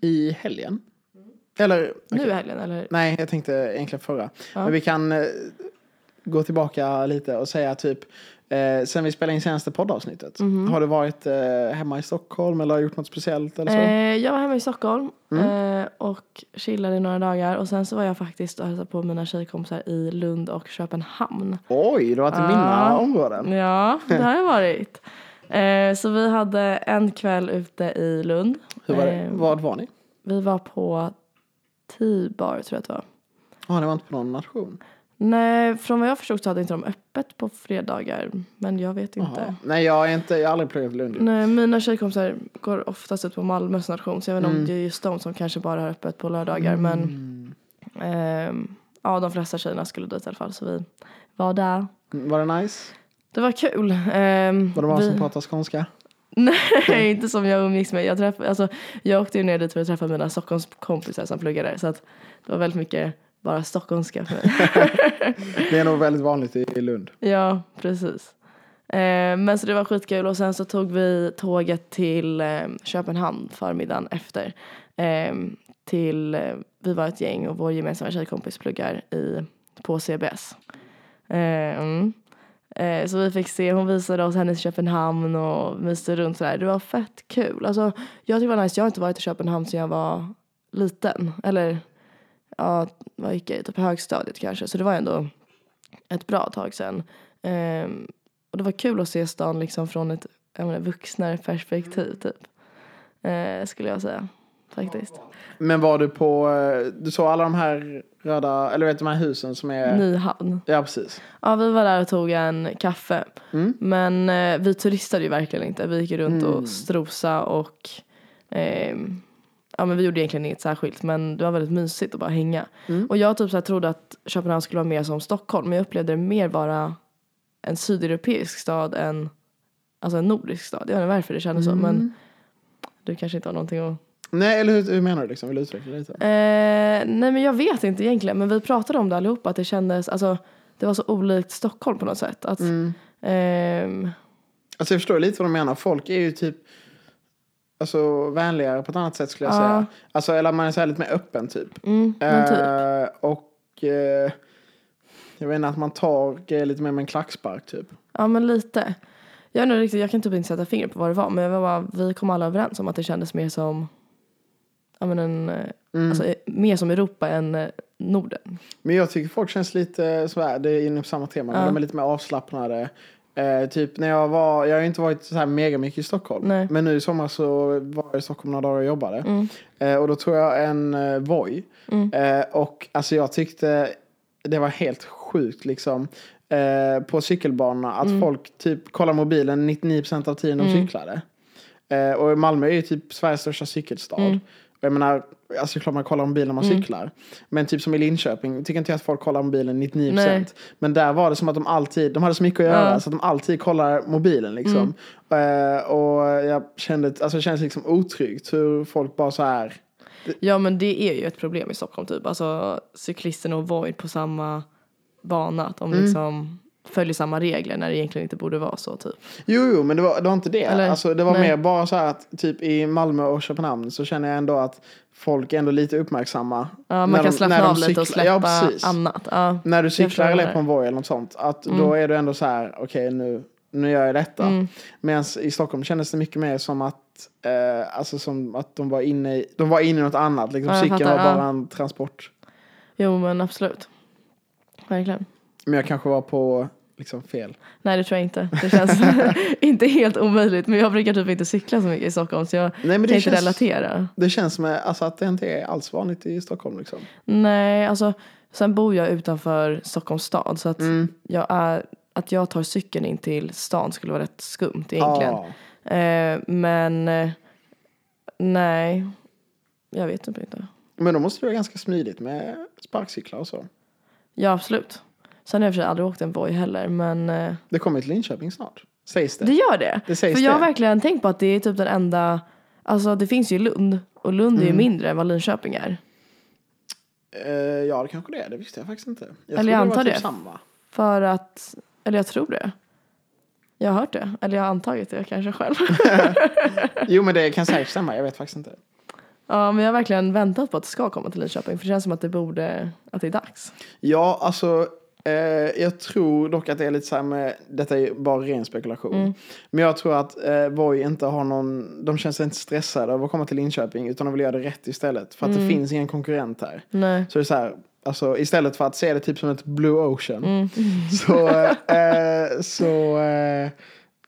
Speaker 2: I helgen? Mm. Eller? okej.
Speaker 1: Nu i helgen eller?
Speaker 2: Nej, jag tänkte egentligen förra.
Speaker 1: Ja.
Speaker 2: Men vi kan eh, gå tillbaka lite och säga typ eh, sen vi spelade in senaste poddavsnittet.
Speaker 1: Mhm.
Speaker 2: Har du varit eh, hemma i Stockholm eller har gjort något speciellt eller så?
Speaker 1: Eh, jag var hemma i Stockholm
Speaker 2: Mm.
Speaker 1: eh, och chillade i några dagar och sen så var jag faktiskt och hälsade på mina tjejkompisar i Lund och Köpenhamn.
Speaker 2: Oj, du har varit i mina
Speaker 1: Ah.
Speaker 2: områden.
Speaker 1: Ja, det har jag varit. Eh, så vi hade en kväll ute i Lund.
Speaker 2: Hur var det?
Speaker 1: Eh,
Speaker 2: Vad var ni?
Speaker 1: Vi var på T-bar tror jag att det var.
Speaker 2: Ja, Ah, ni var inte på någon nation.
Speaker 1: Nej, från vad jag förstod så hade inte de öppet på fredagar. Men jag vet inte.
Speaker 2: Jaha. Nej, jag, är inte, jag har aldrig pluggat i Lund.
Speaker 1: Nej, mina tjejkompisar går oftast ut på Malmös nation så jag vet inte om det är just de som kanske bara har öppet på lördagar. Men ehm, ja, de flesta tjejerna skulle dit i alla fall så vi var där.
Speaker 2: Var det nice?
Speaker 1: Det var kul. Ehm,
Speaker 2: Var det många
Speaker 1: Mm. vi-
Speaker 2: som pratade skånska?
Speaker 1: Nej, inte som jag umgicks med. Jag, träff, alltså, jag åkte ju ner dit för att träffa mina Stockholmskompisar som pluggade där. Så att det var väldigt mycket bara stockholmska för mig.
Speaker 2: Det är nog väldigt vanligt i i Lund.
Speaker 1: ja, precis. Eh, men så det var skitkul och sen så tog vi tåget till eh, Köpenhamn förmiddagen efter. Eh, till, eh, vi var ett gäng och vår gemensamma tjejkompis pluggar i, på CBS. Eh, mm. Eh, så vi fick se, hon visade oss hennes Köpenhamn och myste runt sådär. Det var fett kul. Alltså, jag tyckte det var nice, jag har inte varit i Köpenhamn sedan jag var liten. Eller ja, vad gick jag i? Typ högstadiet kanske. Så det var ändå ett bra tag sedan. Ehm, och det var kul att se stan liksom från ett jag menar, vuxnare perspektiv typ. Eh, skulle jag säga. Faktiskt.
Speaker 2: Men var du på, eh, du såg alla de här röda, eller vet du de här husen som är,
Speaker 1: Nyhamn.
Speaker 2: ja precis.
Speaker 1: Ja, vi var där och tog en kaffe. Men eh, vi turistade ju verkligen inte. Vi gick ju runt och strosa och ehm, ja, men vi gjorde egentligen inget särskilt. Men det var väldigt mysigt att bara hänga. Och jag typ så här trodde att Köpenhamn skulle vara mer som Stockholm. Men jag upplevde det mer vara en sydeuropeisk stad än alltså en nordisk stad. Jag vet inte varför det kändes så. Men du kanske inte har någonting att
Speaker 2: Nej, eller hur, hur menar du liksom? Vill du utveckla det lite?
Speaker 1: Eh, nej men jag vet inte egentligen men vi pratade om det allihopa att det kändes, alltså det var så olikt Stockholm på något sätt. Att, ehm,
Speaker 2: Alltså jag förstår lite vad de menar. Folk är ju typ, alltså vänligare på ett annat sätt skulle jag
Speaker 1: Ja.
Speaker 2: säga. Alltså, eller man är så här lite mer öppen typ.
Speaker 1: mm, men typ.
Speaker 2: Eh, och eh, jag vet inte, att man tar grejer lite mer med en klackspark typ.
Speaker 1: Ja men lite. Jag, vet inte riktigt, jag kan typ inte sätta fingret på vad det var men jag var bara, vi kom alla överens om att det kändes mer som, ja men en, eh, alltså, eh, mer som Europa än eh, Norden.
Speaker 2: Men jag tycker folk känns lite sådär, det är inne på samma tema, men de är lite mer avslappnade. Eh, typ när jag var, jag har ju inte varit så här mega mycket i Stockholm.
Speaker 1: Nej.
Speaker 2: Men nu i sommar så var jag i Stockholm några dagar och jobbade.
Speaker 1: Mm.
Speaker 2: Eh, och då tog jag en eh, Voi.
Speaker 1: Mm.
Speaker 2: Eh, och alltså jag tyckte det var helt sjukt liksom. Eh, på cykelbanorna att
Speaker 1: Mm.
Speaker 2: folk typ kollar mobilen 99% av tiden de cyklade. Eh, och Malmö är ju typ Sveriges största cykelstad.
Speaker 1: Mm.
Speaker 2: Och Jag menar, alltså klart man kollar mobilen när man cyklar. Men typ som i Linköping, tycker inte jag att folk kollar mobilen 99%.
Speaker 1: Nej.
Speaker 2: Men där var det som att de alltid, de hade så mycket att göra
Speaker 1: Ja.
Speaker 2: så att de alltid kollar mobilen liksom.
Speaker 1: Mm.
Speaker 2: Eh, och jag kände, alltså det kändes liksom otryggt hur folk bara så här.
Speaker 1: Ja men det är ju ett problem i Stockholm typ. Alltså cyklisten och Void på samma bana. Att de liksom följer samma regler när det egentligen inte borde vara så typ.
Speaker 2: Jo, jo, men det var, det var inte det.
Speaker 1: Eller?
Speaker 2: alltså, det var
Speaker 1: Nej.
Speaker 2: mer bara så här att typ i Malmö och Köpenhamn så känner jag ändå att folk är ändå lite uppmärksamma.
Speaker 1: Ja, man
Speaker 2: när
Speaker 1: kan
Speaker 2: de-
Speaker 1: slappna
Speaker 2: när de
Speaker 1: av lite och
Speaker 2: cyklar.
Speaker 1: släppa
Speaker 2: Ja, precis.
Speaker 1: annat. Ja.
Speaker 2: När du
Speaker 1: förstår Mm.
Speaker 2: cyklar
Speaker 1: vad du
Speaker 2: eller
Speaker 1: menar.
Speaker 2: på en Voi eller något sånt. Att Då är du ändå så här, okej nu, nu gör jag detta.
Speaker 1: Mm.
Speaker 2: Medan i Stockholm kändes det mycket mer som att Eh, alltså som att de var inne i, de var inne i något annat.
Speaker 1: Ja,
Speaker 2: Liksom,
Speaker 1: jag
Speaker 2: cykeln
Speaker 1: fattar,
Speaker 2: var
Speaker 1: ja.
Speaker 2: bara en transport.
Speaker 1: Jo men absolut. Verkligen.
Speaker 2: Men jag kanske var på liksom, fel.
Speaker 1: Nej det tror jag inte. Det känns inte helt omöjligt. Men jag brukar typ inte cykla så mycket i Stockholm så jag
Speaker 2: Nej, men det
Speaker 1: kan inte
Speaker 2: känns-
Speaker 1: relatera.
Speaker 2: Det känns som eh, alltså, att det inte är alls vanligt i Stockholm. Liksom.
Speaker 1: Nej alltså sen bor jag utanför Stockholms stad så att,
Speaker 2: Mm.
Speaker 1: jag är, att jag tar cykeln in till stan skulle vara rätt skumt egentligen.
Speaker 2: Ja.
Speaker 1: Eh, men eh, nej, jag vet typ inte.
Speaker 2: Men då måste det vara ganska smidigt med sparkcyklar och så.
Speaker 1: Ja, absolut. Sen har jag i och för sig aldrig åkt en Voi heller, men eh,
Speaker 2: Det kommer till Linköping snart, sägs det.
Speaker 1: det gör det.
Speaker 2: Det sägs
Speaker 1: För jag har
Speaker 2: det.
Speaker 1: verkligen tänkt på att det är typ den enda, alltså det finns ju Lund och Lund är ju mindre än vad Linköping är.
Speaker 2: Eh, ja, det kanske det är. Det visste jag faktiskt inte. Jag trodde
Speaker 1: jag
Speaker 2: var
Speaker 1: antar
Speaker 2: typ
Speaker 1: det.
Speaker 2: samma.
Speaker 1: För att, eller jag tror det. Jag har hört det, eller jag har antagit det kanske själv.
Speaker 2: Jo, men det kan säkert stämma. Jag vet faktiskt inte.
Speaker 1: ja, men jag har verkligen väntat på att det ska komma till Linköping för det känns som att det borde, att det är dags.
Speaker 2: Ja, alltså. Eh, jag tror dock att det är lite så här med, detta är ju bara ren spekulation. Men jag tror att eh, Voi inte har någon, de känns inte stressade av att komma till Linköping utan de vill göra det rätt istället. För att det finns ingen konkurrent här.
Speaker 1: Nej.
Speaker 2: Så det är så här, alltså istället för att se det typ som ett blue ocean. Så, eh, så eh,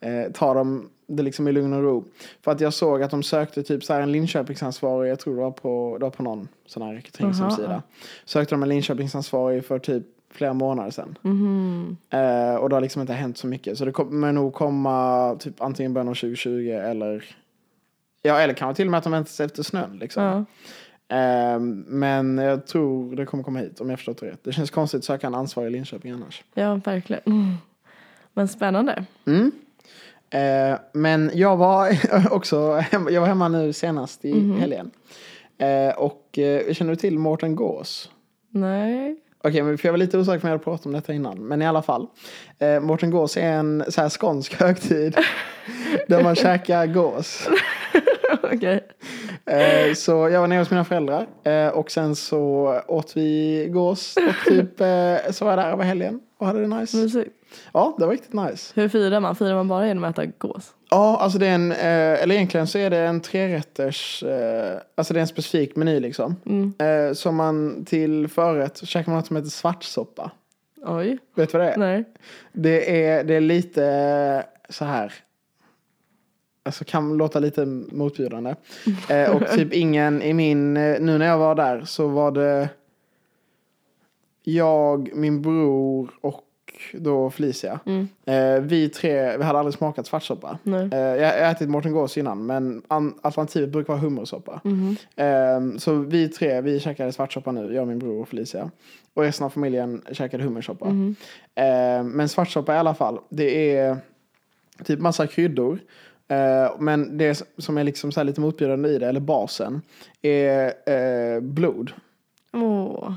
Speaker 2: eh, tar de det liksom i lugn och ro. För att jag såg att de sökte typ så här en Linköpingsansvarig, jag tror det var på, det var på någon sån här rekryteringshemsida.
Speaker 1: Jaha.
Speaker 2: Sökte de en Linköpingsansvarig för typ flera månader sedan.
Speaker 1: Mhm.
Speaker 2: Eh, och det har liksom inte hänt så mycket. Så det kommer nog komma typ antingen början av 2020 eller Ja, eller kanske till och med att de väntar sig efter snön liksom.
Speaker 1: Ja.
Speaker 2: Ehm, men jag tror det kommer komma hit om jag förstått det rätt. Det känns konstigt att söka en ansvarig i Linköping annars.
Speaker 1: ja, verkligen. Mm. Men spännande.
Speaker 2: Mm. Eh, men jag var också hemma, jag var hemma nu senast i helgen. Eh, och eh, känner du till Mårten Gås?
Speaker 1: Nej.
Speaker 2: Okej, men för jag var lite osäker på om jag hade pratat om detta innan. Men i alla fall. Eh, Mårten Gås är en så här skånsk högtid. där man käkar gås.
Speaker 1: Okej.
Speaker 2: Eh, så jag var nere hos mina föräldrar eh, och sen så åt vi gås och typ eh, så var jag där över helgen och hade det nice.
Speaker 1: Mysigt.
Speaker 2: Ja, det var riktigt nice.
Speaker 1: Hur firar man? Firar man bara genom att äta gås?
Speaker 2: Ja, alltså det är en, eh, eller egentligen så är det en trerätters, eh, alltså det är en specifik meny liksom.
Speaker 1: Mm.
Speaker 2: Eh, som man till förrätt så käkar man något som heter svartsoppa.
Speaker 1: Oj.
Speaker 2: Vet du vad det är?
Speaker 1: Nej.
Speaker 2: Det är, det är lite eh, så här. Alltså kan låta lite motbjudande. Eh, och typ ingen i min, eh, nu när jag var där så var det jag, min bror och då Felicia. Eh, vi tre, vi hade aldrig smakat svartsoppa.
Speaker 1: Nej.
Speaker 2: Eh, jag jag har ätit Mårten Gås innan men an, alternativet brukar vara hummersoppa.
Speaker 1: Mm-hmm.
Speaker 2: Eh, så vi tre, vi käkade svartsoppa nu, jag, min bror och Felicia. Och resten av familjen käkade hummersoppa. Eh, men svartsoppa i alla fall, det är typ massa kryddor. Eh, men det som är liksom så här lite motbjudande i det, eller basen, är eh, blod.
Speaker 1: Åh.
Speaker 2: Eh,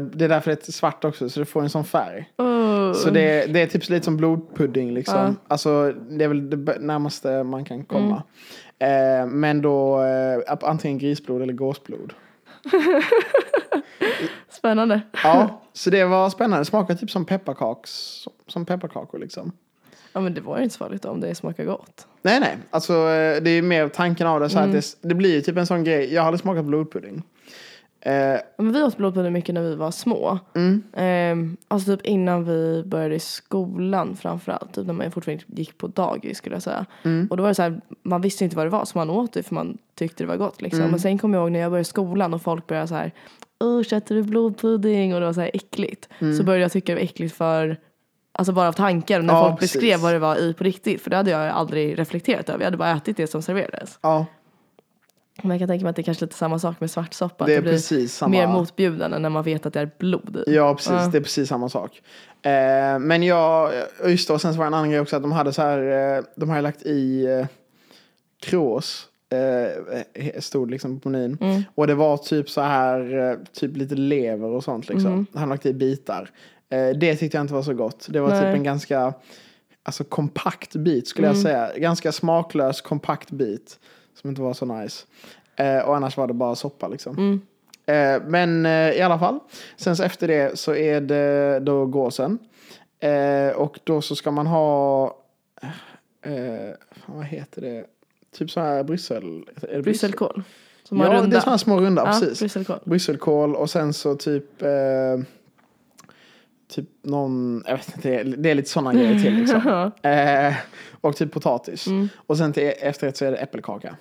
Speaker 2: det är därför det är svart också, så det får en sån färg.
Speaker 1: Åh.
Speaker 2: Så det är, det är typ lite som blodpudding liksom.
Speaker 1: Mm. Ja.
Speaker 2: Alltså det är väl det b- närmaste man kan komma.
Speaker 1: Mm.
Speaker 2: Eh, men då eh, ap- antingen grisblod eller gåsblod.
Speaker 1: Spännande.
Speaker 2: Ja, så det var spännande. Det smakar typ som pepparkaks, som pepparkakor liksom.
Speaker 1: Ja men det var ju inte så farligt om det smakar gott.
Speaker 2: Nej, nej. Alltså
Speaker 1: Mm.
Speaker 2: eh, det är mer tanken av det. Så här att det, det blir ju typ en sån grej. Jag har aldrig smakat blodpudding. Eh, Eh,
Speaker 1: Men vi åt blodpudding mycket när vi var små.
Speaker 2: mm,
Speaker 1: Ehm, alltså typ innan vi började i skolan framförallt. Typ när man fortfarande gick på dagis skulle jag säga.
Speaker 2: mm,
Speaker 1: Och då var det så här, man visste inte vad det var så man åt det för man tyckte det var gott liksom.
Speaker 2: Mm.
Speaker 1: Men sen kom jag ihåg när jag började skolan och folk började så här, usch äter du blodpudding? Och det var så här äckligt.
Speaker 2: Mm.
Speaker 1: Så började jag tycka det var äckligt för, alltså bara av tanken när
Speaker 2: Ja,
Speaker 1: folk
Speaker 2: precis.
Speaker 1: beskrev vad det var i på riktigt. För det hade jag aldrig reflekterat över, jag hade bara ätit det som serverades.
Speaker 2: ja,
Speaker 1: Men jag kan tänka mig att det är kanske är lite samma sak med svartsoppa. att
Speaker 2: det är
Speaker 1: blir
Speaker 2: precis samma.
Speaker 1: mer motbjudande när man vet att det är blod i.
Speaker 2: Ja, precis.
Speaker 1: Ja.
Speaker 2: Det är precis samma sak. Eh, men jag, just det, och sen så var det en annan grej också att de hade så här, eh, de hade lagt i eh, krås, eh, stod liksom på menyn.
Speaker 1: Mm.
Speaker 2: Och det var typ så här, eh, typ lite lever och sånt liksom.
Speaker 1: Mhm.
Speaker 2: Han lagt i bitar. Eh, det tyckte jag inte var så gott. Det var
Speaker 1: Nej. Mm.
Speaker 2: typ en ganska, alltså kompakt bit skulle jag säga. Ganska smaklös, kompakt bit. Som inte var så nice. Eh, och annars var det bara soppa liksom.
Speaker 1: Mm.
Speaker 2: Eh, men eh, i alla fall. Sen så efter det så är det då gåsen. Eh, och då så ska man ha... Eh, fan, vad heter det? Typ så här Bryssel... Är det
Speaker 1: Brysselkål. Som
Speaker 2: Ja,
Speaker 1: har runda.
Speaker 2: det är såna här små runda. precis.
Speaker 1: brysselkål.
Speaker 2: Brysselkål och sen så typ... Eh, typ någon... Jag vet inte, det är- det är lite sådana grejer till liksom. Eh, och typ potatis.
Speaker 1: Mm.
Speaker 2: Och sen till efterrätt så är det äppelkaka.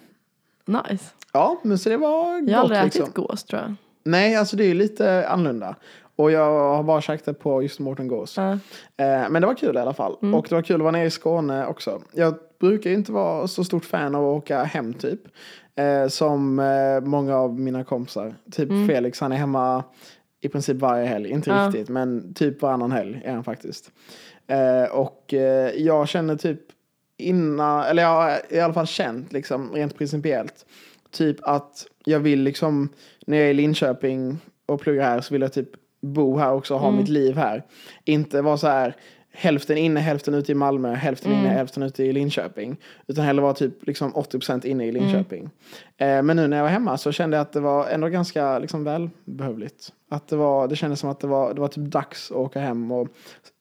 Speaker 1: Nice.
Speaker 2: Ja, men så det var
Speaker 1: Jag har
Speaker 2: gott
Speaker 1: aldrig
Speaker 2: liksom.
Speaker 1: ätit gås tror jag.
Speaker 2: Nej, alltså det är ju lite annorlunda. Och jag har bara sagt det på just Mårten Gås.
Speaker 1: Ja.
Speaker 2: Eh, men det var kul i alla fall. Och det var kul att vara nere i Skåne också. Jag brukar ju inte vara så stort fan av att åka hem typ. Eh, som eh, många av mina kompisar. Typ Felix, han är hemma i princip varje helg. Inte
Speaker 1: Ja.
Speaker 2: riktigt, men typ varannan helg är han faktiskt. Eh, och eh, jag känner typ innan, eller jag har i alla fall känt liksom rent principiellt. Typ att jag vill liksom, när jag är i Linköping och pluggar här så vill jag typ bo här också,
Speaker 1: Mm.
Speaker 2: ha mitt liv här. Inte vara så här hälften inne, hälften ute i Malmö, hälften
Speaker 1: Mm.
Speaker 2: inne, hälften ute i Linköping. Utan hellre vara typ liksom 80% inne
Speaker 1: Mm.
Speaker 2: i Linköping. Eh, men nu när jag var hemma så kände jag att det var ändå ganska liksom välbehövligt. Att det, var, det kändes som att det var, det var typ dags att åka hem och,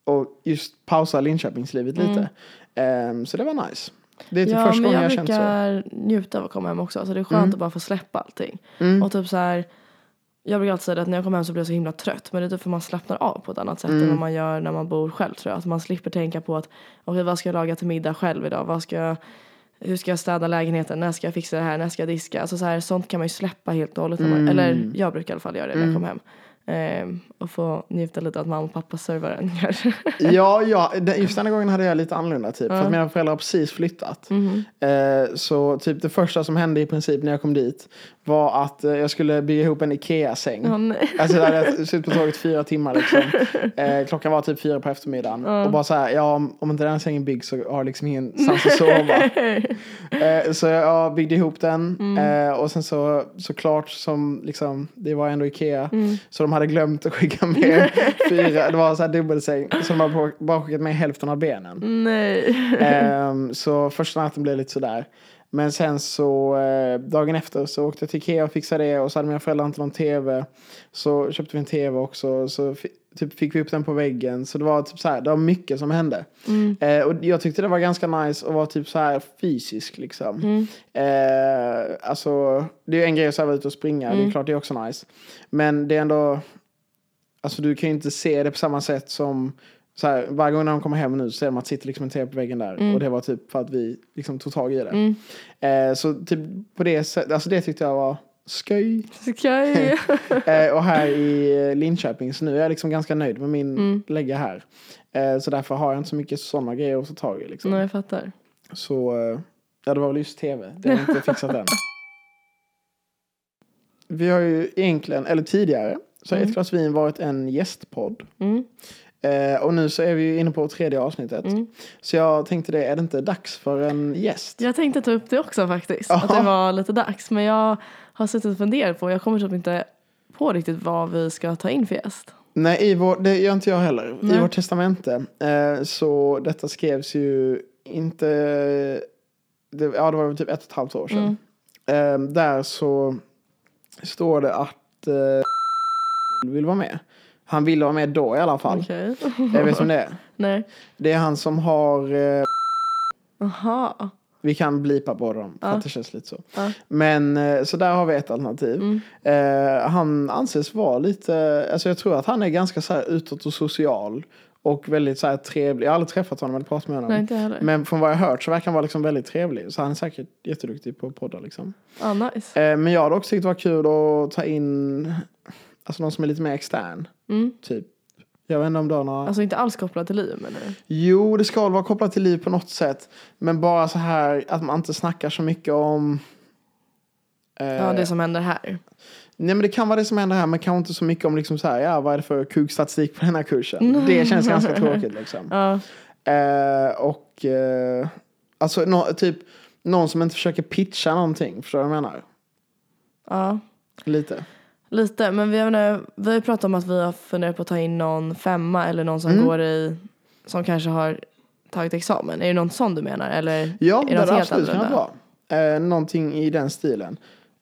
Speaker 2: och just pausa Linköpingslivet lite. Eh, så det var nice. Det är typ
Speaker 1: Mm. Ja,
Speaker 2: första
Speaker 1: men jag
Speaker 2: gången jag, har känt så.
Speaker 1: brukar njuta av att komma hem också. Alltså det är skönt att bara få släppa allting.
Speaker 2: Mm.
Speaker 1: Och typ så här, jag brukar alltid säga det att när jag kommer hem så blir jag så himla trött. Men det är typ för man slappnar av på ett annat sätt
Speaker 2: Mm.
Speaker 1: än vad man gör när man bor själv tror jag. Att man slipper tänka på att okej vad ska jag laga till middag själv idag? Vad ska jag, hur ska jag städa lägenheten? När ska jag fixa det här? När ska jag diska? Alltså så här, sånt kan man ju släppa helt och hållet. när
Speaker 2: Mm.
Speaker 1: Man, eller jag brukar i alla fall göra det när jag kommer hem. Ehm, och få njuta lite av att mamma och pappa servar en kanske.
Speaker 2: Ja, ja, den- just den här gången hade jag lite annorlunda typ. För att mina föräldrar har precis flyttat. Eh, så typ det första som hände i princip när jag kom dit var att eh, jag skulle bygga ihop en Ikea-säng.
Speaker 1: Ja, nej.
Speaker 2: Alltså det hade suttit på tåget fyra timmar liksom. Eh, klockan var typ fyra på eftermiddagen. Och bara så här, ja om, om inte den här sängen byggs så har jag liksom ingenstans att sova. Eh, så jag byggde ihop den. Eh, och sen så såklart som liksom, det var ändå Ikea. Så de hade glömt att skicka med fyra, det var så här dubbelsäng. Så de hade bara- bara skickat med hälften av benen.
Speaker 1: nej.
Speaker 2: Ehm, så första natten blev lite sådär. Men sen så eh, dagen efter så åkte jag till Ikea och fixade det och så hade mina föräldrar inte någon tv. Så köpte vi en tv också så fi- typ fick vi upp den på väggen. Så det var typ så här, det var mycket som hände.
Speaker 1: Mm.
Speaker 2: Eh, och jag tyckte det var ganska nice att vara typ så här fysisk liksom. Eh, alltså det är ju en grej att så här vara ute och springa, det är klart det är också nice. Men det är ändå Alltså du kan ju inte se det på samma sätt som så här, varje gång när de kommer hem nu så ser de att det sitter liksom en tv på väggen där. Och det var typ för att vi liksom tog tag i
Speaker 1: Mm.
Speaker 2: det. Eh, så typ på det sättet, alltså det tyckte jag var sköj.
Speaker 1: Okej.
Speaker 2: Eh, och här i Linköping, så nu är jag liksom ganska nöjd med min lägga här. Eh, så därför har jag inte så mycket sådana grejer att ta tag i liksom.
Speaker 1: Nej, jag fattar.
Speaker 2: Så eh, ja, det var väl just tv. Det har jag inte fixat än. Vi har ju egentligen, eller tidigare, så har Ett glas vin varit en gästpodd.
Speaker 1: Mm.
Speaker 2: Eh, och nu så är vi ju inne på tredje avsnittet.
Speaker 1: Mm.
Speaker 2: Så jag tänkte det, är det inte dags för en gäst?
Speaker 1: Jag tänkte ta upp det också faktiskt.
Speaker 2: Jaha.
Speaker 1: Att det var lite dags. Men jag har suttit och funderat på, jag kommer typ inte på riktigt vad vi ska ta in för gäst.
Speaker 2: Nej, i vår, det gör inte jag heller.
Speaker 1: Nej.
Speaker 2: I vårt testamente. Eh, så detta skrevs ju inte... Det, ja, det var väl typ ett och ett halvt år sedan.
Speaker 1: Mm.
Speaker 2: Eh, där så står det att eh, vill vara med. Han ville vara med då i alla fall.
Speaker 1: Okej.
Speaker 2: Jag vet som det är.
Speaker 1: Nej.
Speaker 2: Det är han som har... Eh,
Speaker 1: Aha.
Speaker 2: Vi kan blipa på dem för att det känns lite så.
Speaker 1: Ja. Mm.
Speaker 2: Men eh, så där har vi ett alternativ. Eh, han anses vara lite, alltså jag tror att han är ganska så här utåt och social. Och väldigt så här trevlig. Jag har aldrig träffat honom eller pratat med honom.
Speaker 1: Nej, inte jag heller.
Speaker 2: Men från vad jag har hört så verkar han vara liksom väldigt trevlig. Så han är säkert jätteduktig på att podda liksom.
Speaker 1: Ja, Ah, nice.
Speaker 2: Eh, men jag hade också tyckt det var kul att ta in alltså någon som är lite mer extern.
Speaker 1: Mm.
Speaker 2: Typ. Jag vet inte om du har några...
Speaker 1: Alltså inte alls kopplat till liv menar du?
Speaker 2: Jo, det ska väl vara kopplat till liv på något sätt. Men bara så här att man inte snackar så mycket om... eh,
Speaker 1: Ja, det som händer här.
Speaker 2: Nej men det kan vara det som händer här men kanske inte så mycket om liksom så här, ja vad är det för kukstatistik på den här kursen. Det känns ganska tråkigt liksom.
Speaker 1: Ja,
Speaker 2: Eh, och eh, alltså nå- typ någon som inte försöker pitcha någonting, förstår du vad jag menar?
Speaker 1: ja.
Speaker 2: Lite.
Speaker 1: Lite, men vi har, nu- vi har ju pratat om att vi har funderat på att ta in någon femma eller någon som går i, som kanske har tagit examen. Är det någon sån du menar? Eller
Speaker 2: Ja,
Speaker 1: är
Speaker 2: det hade
Speaker 1: helt
Speaker 2: absolut kunnat
Speaker 1: annorlunda?
Speaker 2: vara. Eh, någonting i den stilen.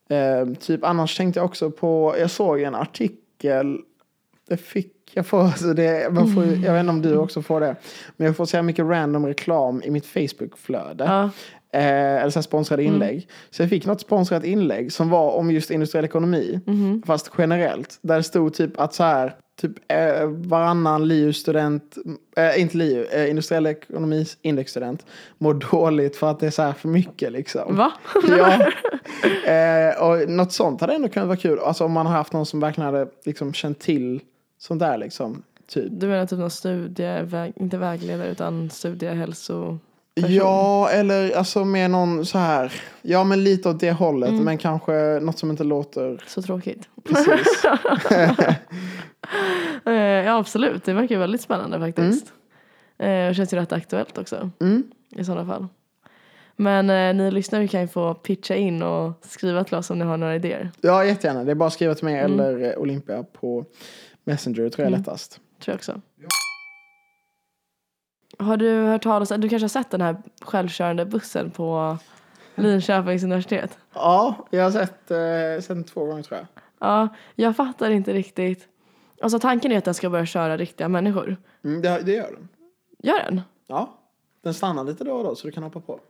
Speaker 2: Eh, typ annars tänkte jag också på, jag såg en artikel, det fick jag får, alltså det, man får, jag vet inte om du också får det, men jag får så här mycket random reklam i mitt Facebook-flöde.
Speaker 1: Ja.
Speaker 2: Eh, eller så här sponsrade inlägg. Så jag fick något sponsrat inlägg som var om just industriell ekonomi. Fast generellt. Där det stod typ att så här, typ eh, varannan LiU-student, eh, inte LiU, eh, industriell ekonomis indexstudent mår dåligt för att det är så här för mycket liksom.
Speaker 1: Va?
Speaker 2: Ja. Eh, och något sånt hade ändå kunnat vara kul. Alltså om man har haft någon som verkligen hade liksom känt till sånt där liksom. Typ.
Speaker 1: Du menar typ någon studie, väg, inte vägledare utan studiehälso...
Speaker 2: Ja, eller alltså med någon så här. Ja, men lite åt det hållet. Men kanske något som inte låter
Speaker 1: Så tråkigt.
Speaker 2: precis.
Speaker 1: Eh, ja absolut, det verkar ju väldigt spännande faktiskt. Eh, och känns ju rätt aktuellt också
Speaker 2: Mm.
Speaker 1: i sådana fall. Men eh, ni lyssnare kan ju få pitcha in och skriva till oss om ni har några idéer.
Speaker 2: Ja, jättegärna. Det är bara att skriva till mig eller eh, Olympia på Messenger. tror jag är lättast.
Speaker 1: Tror jag också. Har du hört talas du kanske har sett den här självkörande bussen på Linköpings universitet?
Speaker 2: Ja, jag har sett, eh, sett den två gånger tror jag.
Speaker 1: Ja, jag fattar inte riktigt. Alltså tanken är att den ska börja köra riktiga människor.
Speaker 2: Mm, det, det gör den.
Speaker 1: Gör den?
Speaker 2: Ja, den stannar lite då och då så du kan hoppa på.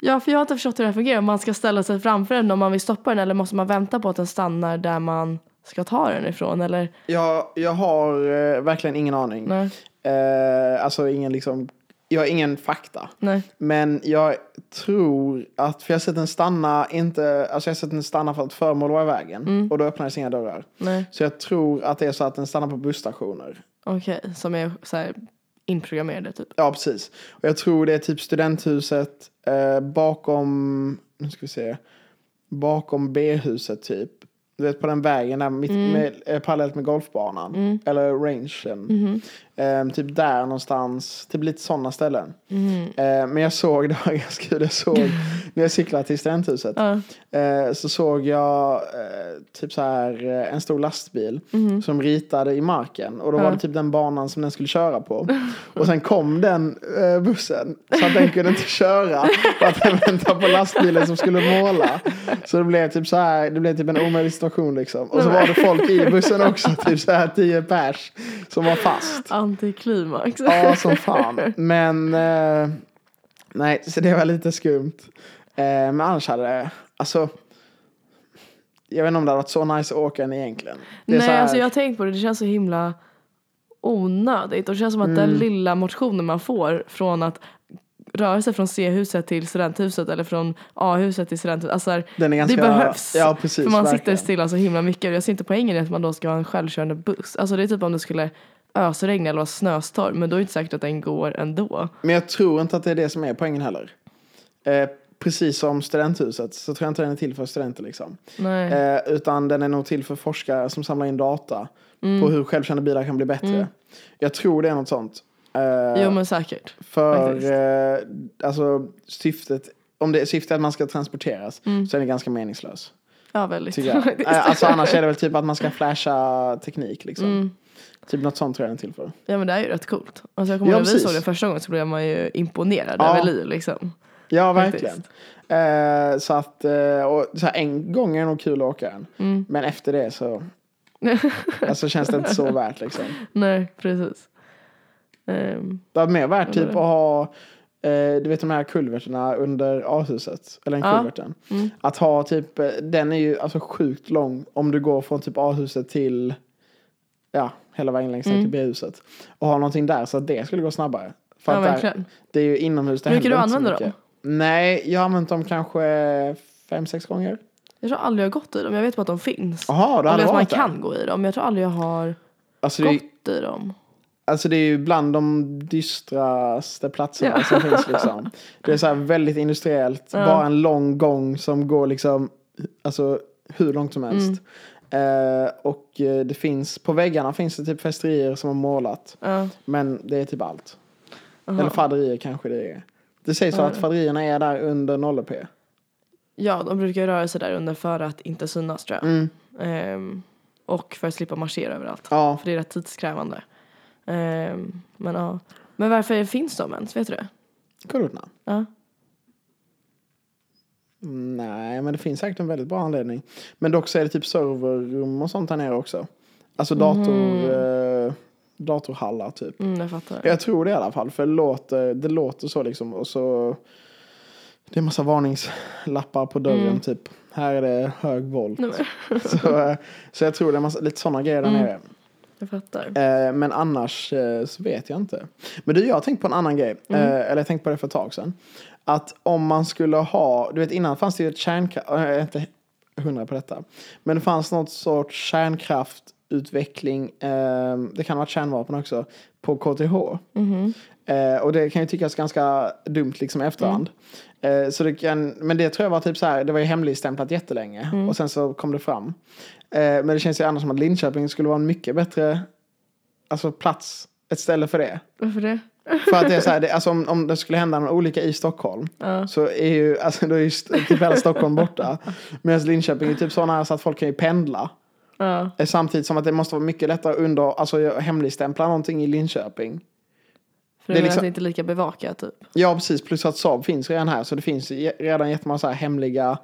Speaker 1: Ja, för jag har inte förstått hur det här fungerar. Om man ska ställa sig framför den om man vill stoppa den eller måste man vänta på att den stannar där man ska ta den ifrån eller?
Speaker 2: Jag, jag har eh, verkligen ingen aning.
Speaker 1: Nej,
Speaker 2: Eh, alltså ingen liksom, jag har ingen fakta.
Speaker 1: nej.
Speaker 2: Men jag tror att, för jag har sett den stanna, inte, alltså jag har sett den stanna för att föremål var i vägen. Och då öppnades inga dörrar.
Speaker 1: Nej,
Speaker 2: Så jag tror att det är så att den stannar på busstationer.
Speaker 1: okej. Som är så här inprogrammerade typ.
Speaker 2: Ja, precis. Och jag tror det är typ studenthuset eh, bakom, nu ska vi se, bakom B-huset typ. Du vet på den vägen där mitt, med, eh, parallellt med golfbanan. Eller rangen. Eh, typ där någonstans, typ lite sådana ställen. Eh, men jag såg, det var ganska kul, jag såg när jag cyklade till studenthuset.
Speaker 1: Ja.
Speaker 2: Eh, så såg jag eh, typ så här eh, en stor lastbil
Speaker 1: Mm. mhm.
Speaker 2: som ritade i marken. Och då var det typ den banan som den skulle köra på. Och sen kom den eh, bussen så att den kunde inte köra. För att den väntade på lastbilen som skulle måla. Så det blev typ så här, det blev typ en omöjlig situation liksom. Och så var det folk i bussen också, typ så här tio pers som var fast.
Speaker 1: Antiklimax.
Speaker 2: Ja, som fan. Men eh, nej, så det var lite skumt. Eh, men annars hade det, alltså. Jag vet inte om det hade varit så nice att åka än egentligen. Det är
Speaker 1: Nej,
Speaker 2: så här,
Speaker 1: alltså jag har tänkt på det. Det känns så himla onödigt. Och det känns som att
Speaker 2: Mm.
Speaker 1: den lilla motionen man får från att röra sig från C-huset till studenthuset eller från A-huset till studenthuset. Alltså här,
Speaker 2: Den är ganska-
Speaker 1: det behövs.
Speaker 2: ja, precis,
Speaker 1: för man
Speaker 2: verkligen.
Speaker 1: sitter stilla så himla mycket. Och jag ser inte poängen i att man då ska ha en självkörande buss. Alltså det är typ om det skulle ösregna eller vara snöstorm. Men då är det inte säkert att den går ändå.
Speaker 2: Men jag tror inte att det är det som är poängen heller. Eh, precis som studenthuset så tror jag inte den är till för studenter liksom.
Speaker 1: Nej.
Speaker 2: Eh, utan den är nog till för forskare som samlar in data
Speaker 1: Mm.
Speaker 2: på hur självkörande bilar kan bli bättre. Jag tror det är något sånt. Eh,
Speaker 1: jo men säkert.
Speaker 2: För
Speaker 1: Faktiskt.
Speaker 2: eh, alltså, syftet, om det är syftet att man ska transporteras så är det ganska meningslös.
Speaker 1: Ja väldigt.
Speaker 2: Tycker jag.
Speaker 1: Mm. faktiskt.
Speaker 2: Eh, alltså, annars är det väl typ att man ska flasha teknik liksom.
Speaker 1: Mm.
Speaker 2: Typ något sånt tror jag den är till för.
Speaker 1: Ja men det är ju rätt coolt. Alltså jag kommer
Speaker 2: Ja,
Speaker 1: ihåg när vi
Speaker 2: precis.
Speaker 1: såg den första gången så blev man ju imponerad
Speaker 2: Ja.
Speaker 1: över liv liksom.
Speaker 2: Ja,
Speaker 1: Faktiskt.
Speaker 2: verkligen. Eh, så att, eh, och, så här, en gång är det nog kul att åka den.
Speaker 1: Mm.
Speaker 2: Men efter det så alltså, känns det inte så värt liksom.
Speaker 1: Nej, precis. Ehm,
Speaker 2: Det var mer värt typ att ha eh, du vet de här kulverterna under A-huset, eller en
Speaker 1: Ja.
Speaker 2: kulverten.
Speaker 1: mm.
Speaker 2: Att ha typ, eh, den är ju alltså sjukt lång om du går från typ A-huset till, ja, hela vägen längst
Speaker 1: Mm.
Speaker 2: ner till B-huset. Och ha någonting där så att det skulle gå snabbare. För
Speaker 1: Ja,
Speaker 2: att där-
Speaker 1: verkligen.
Speaker 2: det är ju inomhus, det
Speaker 1: Brukar
Speaker 2: händer
Speaker 1: du
Speaker 2: inte så
Speaker 1: använda
Speaker 2: mycket. Nej, jag har använt dem kanske fem, sex gånger.
Speaker 1: Jag tror aldrig jag har gått i dem. Jag vet bara att de finns.
Speaker 2: Jaha, du har
Speaker 1: jag vet
Speaker 2: aldrig
Speaker 1: att man
Speaker 2: varit där?
Speaker 1: kan gå i dem. men Jag tror aldrig jag har
Speaker 2: Alltså det, är,
Speaker 1: gått i dem.
Speaker 2: alltså det är ju bland de dystraste platserna som finns liksom. Det är så här väldigt industriellt,
Speaker 1: Ja.
Speaker 2: bara en lång gång som går liksom, alltså hur långt som helst.
Speaker 1: Mm.
Speaker 2: Eh, och eh, det finns, på väggarna finns det typ festerier som har målat.
Speaker 1: Ja.
Speaker 2: Men det är typ allt.
Speaker 1: Aha.
Speaker 2: Eller faderier kanske det är. Det sägs så
Speaker 1: Ja.
Speaker 2: att faderierna är där under 0p.
Speaker 1: Ja, de brukar ju röra sig där under för att inte synas tror jag.
Speaker 2: Mm.
Speaker 1: Ehm, och för att slippa marschera överallt.
Speaker 2: Ja,
Speaker 1: För det är rätt tidskrävande. Ehm, men ja. Men varför finns de ens? Vet du det?
Speaker 2: kulverterna.
Speaker 1: Ja.
Speaker 2: Nej, men det finns säkert en väldigt bra anledning. Men dock så är det typ serverrum och sånt här nere också. Alltså dator, eh, datorhallar typ.
Speaker 1: Mm, jag fattar.
Speaker 2: Jag tror det i alla fall, för det låter, det låter så liksom. Och så, det är en massa varningslappar på dörren typ. Här är det hög volt.
Speaker 1: Nej, men,
Speaker 2: Så, eh, så jag tror det är massa, lite sådana grejer där nere.
Speaker 1: jag fattar.
Speaker 2: Eh, men annars eh, så vet jag inte. Men du, jag har tänkt på en annan grej. Eh, eller jag tänkte på det för ett tag sedan. Att om man skulle ha, du vet innan fanns det ju ett kärnkraft, jag är inte hundra på detta. Men det fanns något sorts kärnkraftutveckling, eh, det kan ha varit kärnvapen också, på KTH.
Speaker 1: Mhm.
Speaker 2: Eh, och det kan ju tyckas ganska dumt liksom i efterhand. Eh, så det kan, men det tror jag var typ så här, det var ju hemligstämplat jättelänge och sen så kom det fram. Eh, men det känns ju annars som att Linköping skulle vara en mycket bättre alltså, plats, ett ställe för det.
Speaker 1: Varför det?
Speaker 2: För att det är så här, det, alltså, om, om det skulle hända någon olycka i Stockholm så är ju, alltså, då är ju st- typ hela Stockholm borta. Medan Linköping är typ så nära så att folk kan ju pendla.
Speaker 1: Ja.
Speaker 2: Eh, Samtidigt som att det måste vara mycket lättare att under, alltså, hemligstämpla någonting i Linköping.
Speaker 1: För
Speaker 2: Det
Speaker 1: det
Speaker 2: är
Speaker 1: är
Speaker 2: liksom-
Speaker 1: inte lika bevakat typ.
Speaker 2: Ja, precis. Plus att Saab finns redan här. Så det finns ju redan jättemånga så här hemliga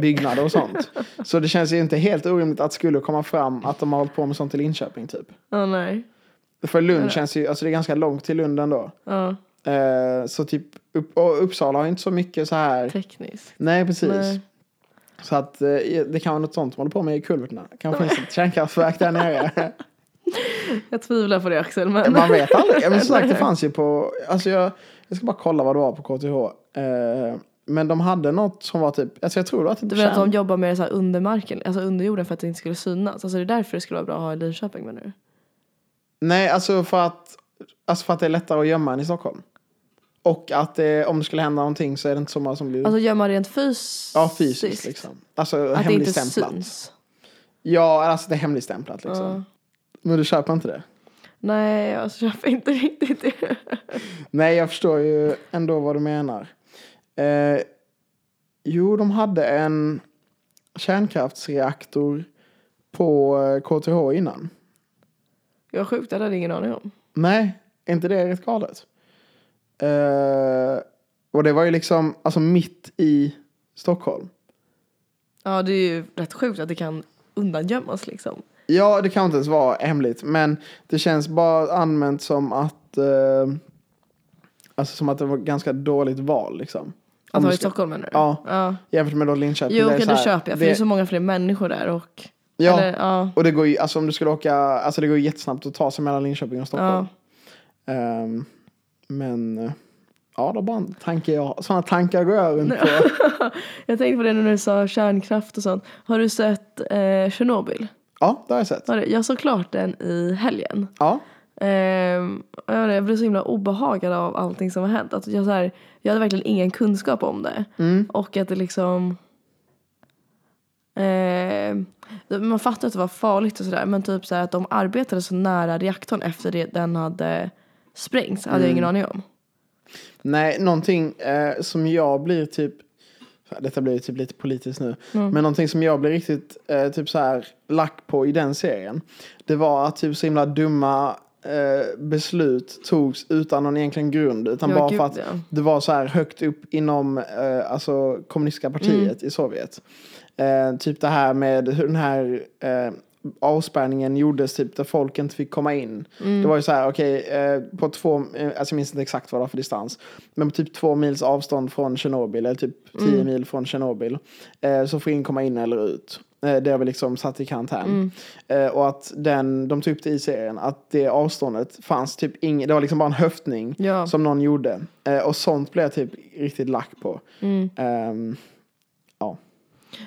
Speaker 2: byggnader och sånt. Så det känns ju inte helt orimligt att skulle komma fram att de har hållit på med sånt i Linköping typ.
Speaker 1: Ja, nej.
Speaker 2: För Lund känns ju, alltså det är ganska långt till Lund ändå.
Speaker 1: Ja,
Speaker 2: Eh, så typ, upp, och Uppsala har inte så mycket så här.
Speaker 1: tekniskt.
Speaker 2: Nej, precis.
Speaker 1: Nej.
Speaker 2: Så att eh, det kan vara något sånt de håller på med i kulverterna. Kanske finns ett kärnkraftverk där nere.
Speaker 1: Jag tvivlar på det Axel, men
Speaker 2: Man vet aldrig. Men som sagt, det fanns ju på... Alltså jag, jag ska bara kolla vad det var på KTH. Eh, men de hade något som var typ... Alltså jag tror det var typ
Speaker 1: du vet att de
Speaker 2: kärn...
Speaker 1: jobbar med det så här under marken, alltså under jorden för att det inte skulle synas. Alltså det är därför det skulle vara bra att ha i Linköping menar
Speaker 2: Mm.
Speaker 1: du?
Speaker 2: Nej, alltså för att... Alltså för att det är lättare att gömma än i Stockholm. Och att det, om det skulle hända någonting så är det inte så många som blir...
Speaker 1: Alltså gömma rent fysiskt.
Speaker 2: ja, fysiskt liksom. Alltså
Speaker 1: Att det inte
Speaker 2: hemligstämplat.
Speaker 1: syns.
Speaker 2: Ja, alltså det är hemligstämplat liksom.
Speaker 1: Ja.
Speaker 2: Men du köper inte det?
Speaker 1: Nej, jag köper inte riktigt det.
Speaker 2: Nej, jag förstår ju ändå vad du menar. Eh, jo, de hade en kärnkraftsreaktor på eh, KTH innan.
Speaker 1: Jag är sjukt, det hade jag ingen aning om.
Speaker 2: Nej, är inte det rätt galet? Eh, och det var ju liksom alltså mitt i Stockholm.
Speaker 1: Ja, det är ju rätt sjukt att det kan undangömmas liksom.
Speaker 2: Ja, det kan inte ens vara hemligt, men det känns bara använt som att eh, alltså som att det var ganska dåligt val liksom.
Speaker 1: Att
Speaker 2: Om
Speaker 1: ha
Speaker 2: du
Speaker 1: i
Speaker 2: ska-
Speaker 1: Stockholm menar du?
Speaker 2: Ja.
Speaker 1: ja.
Speaker 2: Jämfört med då Linköping.
Speaker 1: Jo,
Speaker 2: där
Speaker 1: okej,
Speaker 2: så
Speaker 1: det
Speaker 2: här,
Speaker 1: köper jag. För det... är så många fler människor där och...
Speaker 2: Ja.
Speaker 1: Eller, ja.
Speaker 2: Och det går ju, alltså om du skulle åka, alltså det går ju jättesnabbt att ta sig mellan Linköping och Stockholm.
Speaker 1: ja.
Speaker 2: Ehm, men, eh, ja det var bara en tanke jag, sådana tankar går jag runt på.
Speaker 1: Jag tänkte på det när du sa kärnkraft och sånt. Har du sett eh, Tjernobyl?
Speaker 2: Ja, det har jag sett.
Speaker 1: Har du- Jag såg klart den i helgen.
Speaker 2: Ja,
Speaker 1: Ehm, och jag, vet inte, jag blev så himla obehagad av allting som har hänt. Att jag, så här, jag hade verkligen ingen kunskap om det.
Speaker 2: Mm.
Speaker 1: Och att det liksom... ehm, man fattar att det var farligt och sådär. Men typ så här, att de arbetade så nära reaktorn efter det den hade sprängts. hade jag ingen
Speaker 2: Mm.
Speaker 1: aning om.
Speaker 2: nej, någonting eh, som jag blir typ, detta blir ju typ lite politiskt nu,
Speaker 1: Mm.
Speaker 2: men någonting som jag blir riktigt eh, typ så här lack på i den serien, det var att typ så himla dumma eh, beslut togs utan någon egentligen grund, utan
Speaker 1: Ja,
Speaker 2: bara
Speaker 1: gud,
Speaker 2: för att
Speaker 1: ja.
Speaker 2: det var så här högt upp inom eh, alltså kommunistiska partiet i Sovjet. Eh, typ det här med hur den här eh, avspärrningen gjordes typ där folk inte fick komma in. Det var ju så här, okej, eh, på två, eh, alltså jag minns inte exakt vad det var för distans, men på typ två mils avstånd från Tjernobyl, eller typ tio mil från Tjernobyl, eh, så får ingen komma in eller ut. Eh, det har vi liksom satt i karantän. Eh, och att den, de tog upp det i serien, att det avståndet fanns typ ingen, det var liksom bara en höftning
Speaker 1: Ja.
Speaker 2: som någon gjorde. Eh, och sånt blev jag typ riktigt lack på.
Speaker 1: Mm.
Speaker 2: Ehm, ja.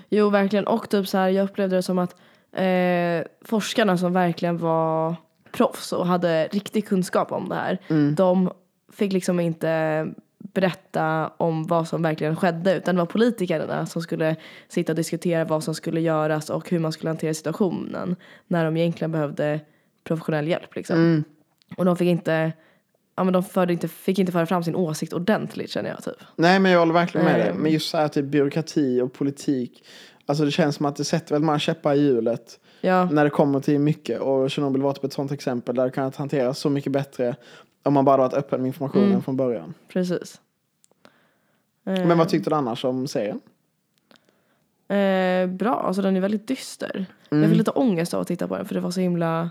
Speaker 1: Jo, verkligen. Och typ så här, jag upplevde det som att eh, forskarna som verkligen var proffs och hade riktig kunskap om det här,
Speaker 2: Mm.
Speaker 1: de fick liksom inte berätta om vad som verkligen skedde utan det var politikerna som skulle sitta och diskutera vad som skulle göras och hur man skulle hantera situationen när de egentligen behövde professionell hjälp liksom.
Speaker 2: Mm.
Speaker 1: Och de fick inte, ja men de förde inte, fick inte föra fram sin åsikt ordentligt känner jag typ.
Speaker 2: Nej, men jag håller verkligen med dig.
Speaker 1: Ehm.
Speaker 2: Men just så här typ byråkrati och politik. Alltså det känns som att det sätter väl man käppar i hjulet.
Speaker 1: Ja,
Speaker 2: När det kommer till mycket. Och Tjernobyl var typ ett sånt exempel där det kan hanteras så mycket bättre. Om man bara hade varit öppen med informationen
Speaker 1: Mm.
Speaker 2: från början.
Speaker 1: precis.
Speaker 2: Men vad tyckte du annars om serien?
Speaker 1: Eh, bra, alltså den är väldigt dyster. Jag
Speaker 2: Mm.
Speaker 1: fick lite ångest av att titta på den för det var så himla...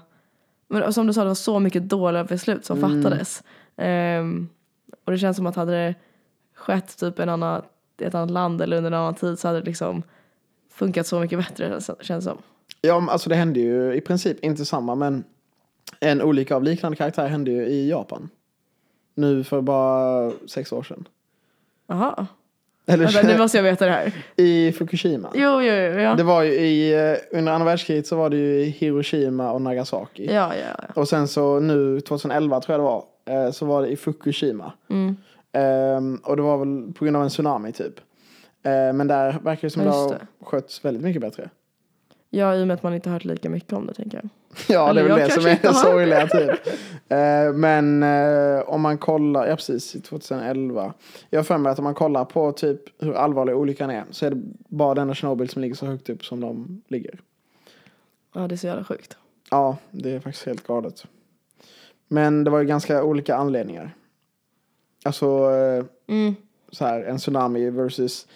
Speaker 1: Men som du sa, det var så mycket dåliga beslut som
Speaker 2: Mm.
Speaker 1: fattades. Ehm, och det känns som att hade det skett typ en annan, i ett annat land eller under en annan tid så hade det liksom funkat så mycket bättre känns- känns som.
Speaker 2: Ja, men alltså det hände ju i princip inte samma. Men en olycka av liknande karaktär hände ju i Japan. Nu för bara sex år sedan.
Speaker 1: Jaha,
Speaker 2: Eller
Speaker 1: Vänta, nu måste jag veta det här.
Speaker 2: i Fukushima.
Speaker 1: Jo, jo, jo, ja.
Speaker 2: Det var ju i, eh, under andra världskriget så var det ju i Hiroshima och Nagasaki.
Speaker 1: Ja, ja, ja.
Speaker 2: Och sen så nu 2011 tror jag det var. eh, Så var det i Fukushima.
Speaker 1: Mm.
Speaker 2: Ehm, Och det var väl på grund av en tsunami typ. Eh, Men där verkar det som
Speaker 1: Ja,
Speaker 2: det
Speaker 1: just
Speaker 2: har skötts väldigt mycket bättre.
Speaker 1: ja, i och med att man inte hört lika mycket om det tänker jag.
Speaker 2: Ja, det är
Speaker 1: Eller
Speaker 2: väl
Speaker 1: jag
Speaker 2: det som
Speaker 1: kanske
Speaker 2: är
Speaker 1: inte
Speaker 2: det
Speaker 1: har.
Speaker 2: sorgliga typ. Eh, Men eh, om man kollar, ja precis, i 2011. Jag har för mig att om man kollar på typ hur allvarlig olyckan är så är det bara denna Tjernobyl som ligger så högt upp som de ligger.
Speaker 1: Ja, det är så jävla sjukt.
Speaker 2: Ja, det är faktiskt helt galet. Men det var ju ganska olika anledningar. Alltså, eh,
Speaker 1: Mm.
Speaker 2: så här, en tsunami versus...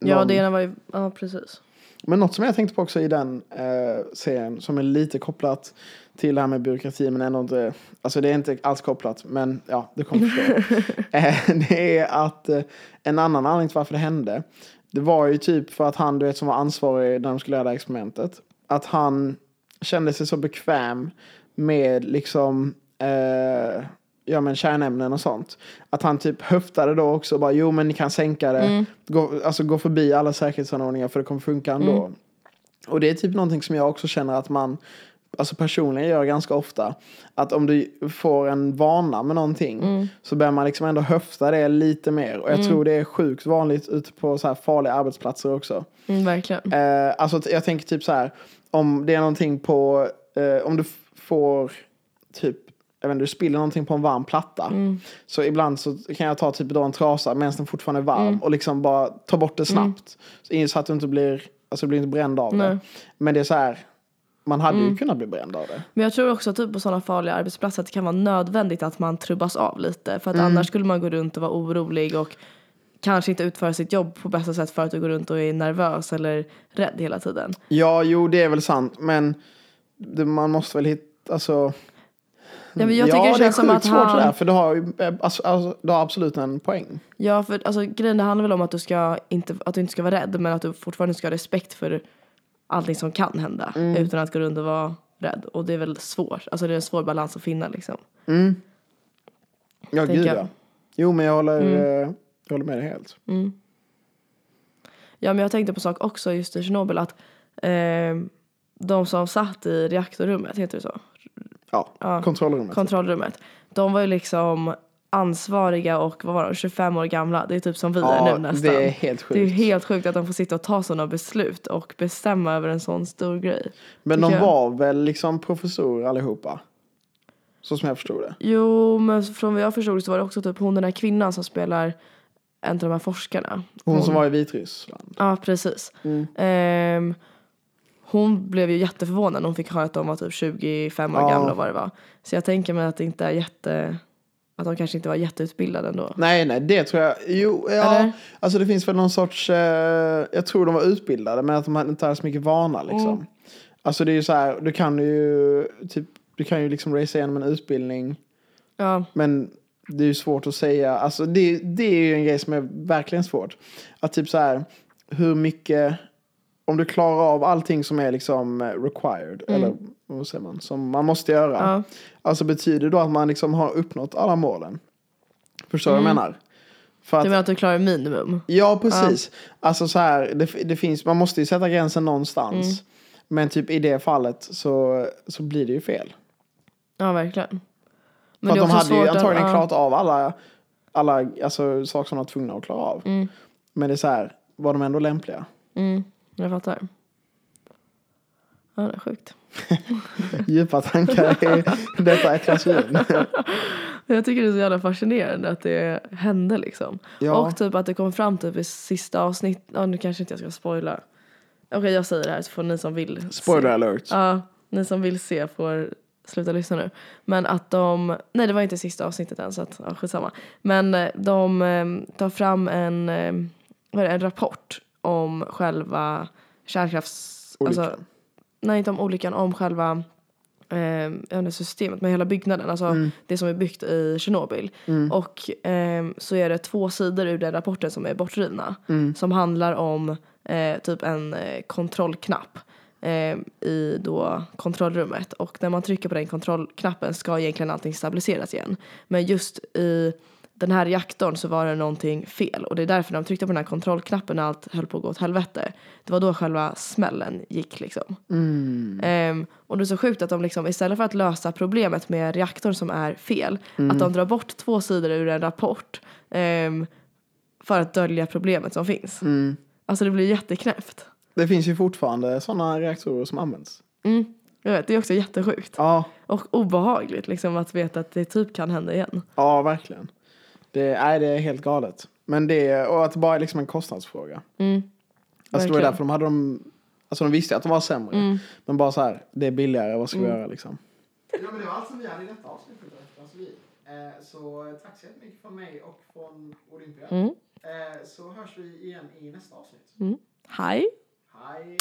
Speaker 1: Ja,
Speaker 2: någon-
Speaker 1: det ena var ju... Ja, precis.
Speaker 2: Men något som jag tänkte på också i den eh, serien, som är lite kopplat till det här med byråkrati, men ändå inte... Alltså det är inte alls kopplat, men ja, du kommer förstå. eh, det är att eh, en annan anledning till varför det hände, det var ju typ för att han, du vet, som var ansvarig när de skulle göra det här experimentet, att han kände sig så bekväm med liksom... Eh, ja men kärnämnen och sånt. Att han typ höftade då också och bara jo men ni kan sänka det.
Speaker 1: Mm.
Speaker 2: Gå, alltså gå förbi alla säkerhetsanordningar för det kommer funka ändå. Och det är typ någonting som jag också känner att man Alltså personligen gör ganska ofta att om du får en vana med någonting så börjar man liksom ändå höfta det lite mer. Och jag tror det är sjukt vanligt ute på så här farliga arbetsplatser också.
Speaker 1: Mm, verkligen.
Speaker 2: Eh, alltså t- jag tänker typ så här. Om det är någonting på, eh, om du f- får typ, jag vet inte, du spiller någonting på en varm platta.
Speaker 1: Mm.
Speaker 2: Så ibland så kan jag ta typ då en trasa medan den fortfarande är varm
Speaker 1: Mm.
Speaker 2: och liksom bara ta bort det snabbt. Så- Så att du inte blir, alltså du blir inte bränd av det.
Speaker 1: Nej. Mm.
Speaker 2: Men det är så här, man hade ju kunnat bli bränd av det.
Speaker 1: Men jag tror också typ på sådana farliga arbetsplatser att det kan vara nödvändigt att man trubbas av lite. För att annars skulle man gå runt och vara orolig och kanske inte utföra sitt jobb på bästa sätt för att du går runt och är nervös eller rädd hela tiden.
Speaker 2: Ja, jo det är väl sant. Men det, man måste väl hitta, alltså.
Speaker 1: Mm. Ja, men jag tycker det känns som att
Speaker 2: svårt det där.
Speaker 1: han...
Speaker 2: För du har ju, eh, alltså, alltså, du har absolut en poäng.
Speaker 1: Ja, för alltså, grejen det handlar väl om att du, ska inte, att du inte ska vara rädd men att du fortfarande ska ha respekt för allting som kan hända utan att gå runt och vara rädd. Och det är väl svårt. Alltså det är en svår balans att finna liksom.
Speaker 2: Ja,
Speaker 1: tänker
Speaker 2: gud
Speaker 1: jag. Mm.
Speaker 2: ja. Jo, men jag håller, eh, jag håller med dig helt.
Speaker 1: Ja men jag tänkte på en sak också just i Tjernobyl att ehm, de som satt i reaktorrummet, heter det så?
Speaker 2: Ja, typ. kontrollrummet.
Speaker 1: Kontrollrummet. De var ju liksom ansvariga och vad var de, 25 år gamla. Det är typ som vi är
Speaker 2: ja,
Speaker 1: nu nästan.
Speaker 2: det är helt sjukt.
Speaker 1: Det är ju helt sjukt att de får sitta och ta sådana beslut och bestämma över en sån stor grej.
Speaker 2: men de
Speaker 1: tycker jag.
Speaker 2: var väl liksom professorer allihopa? Så som jag förstod det.
Speaker 1: Jo men från vad jag förstod så var det också typ hon den här kvinnan som spelar en av de här forskarna.
Speaker 2: Hon, som var i Vitryssland.
Speaker 1: Ja, precis.
Speaker 2: Mm.
Speaker 1: Ehm, hon blev ju jätteförvånad när hon fick höra att de var typ 25 år
Speaker 2: Ja.
Speaker 1: gamla och vad det var. Så jag tänker mig att det inte är jätte... Att de kanske inte var jätteutbildade ändå.
Speaker 2: Nej, nej, det tror jag. Jo, ja.
Speaker 1: Eller?
Speaker 2: Alltså det
Speaker 1: Mm.
Speaker 2: finns väl någon sorts, eh, jag tror de var utbildade men att de hade inte hade så mycket vana liksom. Alltså det är ju så här, du kan ju typ, du kan ju liksom racea igenom en utbildning.
Speaker 1: Ja.
Speaker 2: Men det är ju svårt att säga. Alltså det, det är ju en grej som är verkligen svårt. Att typ så här, hur mycket, om du klarar av allting som är liksom eh, required, eller vad säger man, som man måste göra.
Speaker 1: Ja.
Speaker 2: Alltså betyder då att man liksom har uppnått alla målen? Förstår du vad jag menar? För
Speaker 1: Du
Speaker 2: att,
Speaker 1: menar att du klarar minimum?
Speaker 2: ja precis. Alltså så här, det, det finns, man måste ju sätta gränsen någonstans. Men typ i det fallet så, så blir det ju fel.
Speaker 1: Ja, verkligen. Men
Speaker 2: För att de hade ju
Speaker 1: att-
Speaker 2: antagligen
Speaker 1: ja.
Speaker 2: klarat av alla, alla alltså, saker som de var tvungna att klara av. Men det är så här, var de ändå lämpliga?
Speaker 1: Mm, jag fattar. Ja, det är sjukt.
Speaker 2: Djupa tankar i detta ett glas vin.
Speaker 1: Jag tycker det är så jävla fascinerande att det hände liksom.
Speaker 2: Ja.
Speaker 1: Och typ att det kom fram typ i sista avsnitt. Ja, nu kanske inte jag ska spoila. Okej, jag säger det här så får ni som vill. se.
Speaker 2: Spoiler alert.
Speaker 1: Ja, ni som vill se får sluta lyssna nu. Men att de, nej det var inte sista avsnittet än så att, ja, skitsamma. Men eh, de eh, tar fram en, eh, vad är det, en rapport om själva kärnkrafts... alltså-
Speaker 2: Olyckan.
Speaker 1: nej, inte om olyckan, om själva eh, jag vet inte, systemet, men hela byggnaden, alltså det som är byggt i Tjernobyl. Och ehm, så är det två sidor ur den rapporten som är bortrivna. Som handlar om eh, typ en eh, kontrollknapp ehm, i då kontrollrummet. Och när man trycker på den kontrollknappen ska egentligen allting stabiliseras igen. Men just i den här reaktorn så var det någonting fel och det är därför när de tryckte på den här kontrollknappen när allt höll på att gå åt helvete. Det var då själva smällen gick liksom.
Speaker 2: Mm.
Speaker 1: Ehm, och det är så sjukt att de liksom, istället för att lösa problemet med reaktorn som är fel, att de drar bort två sidor ur en rapport ehm, för att dölja problemet som finns. Alltså det blir jätteknäppt.
Speaker 2: Mm. Det finns ju fortfarande sådana reaktorer som används.
Speaker 1: Mm. Jag vet, det är också jättesjukt.
Speaker 2: Ja,
Speaker 1: Och obehagligt liksom att veta att det typ kan hända igen.
Speaker 2: ja verkligen. Det, nej, det är helt galet. Men det, och att det bara är liksom en kostnadsfråga.
Speaker 1: Mm.
Speaker 2: Alltså det var
Speaker 1: Verkligen. Mm.
Speaker 2: därför de hade de, alltså de visste att de var sämre. Men bara så här, det är billigare, vad ska vi göra liksom? Ja men det var allt som vi hade i detta avsnittet. Alltså vi. Eh, så tack så jättemycket från mig och från Olympia.
Speaker 1: Mm.
Speaker 2: Eh, så hörs vi igen i nästa avsnitt.
Speaker 1: Hej!
Speaker 2: Hej!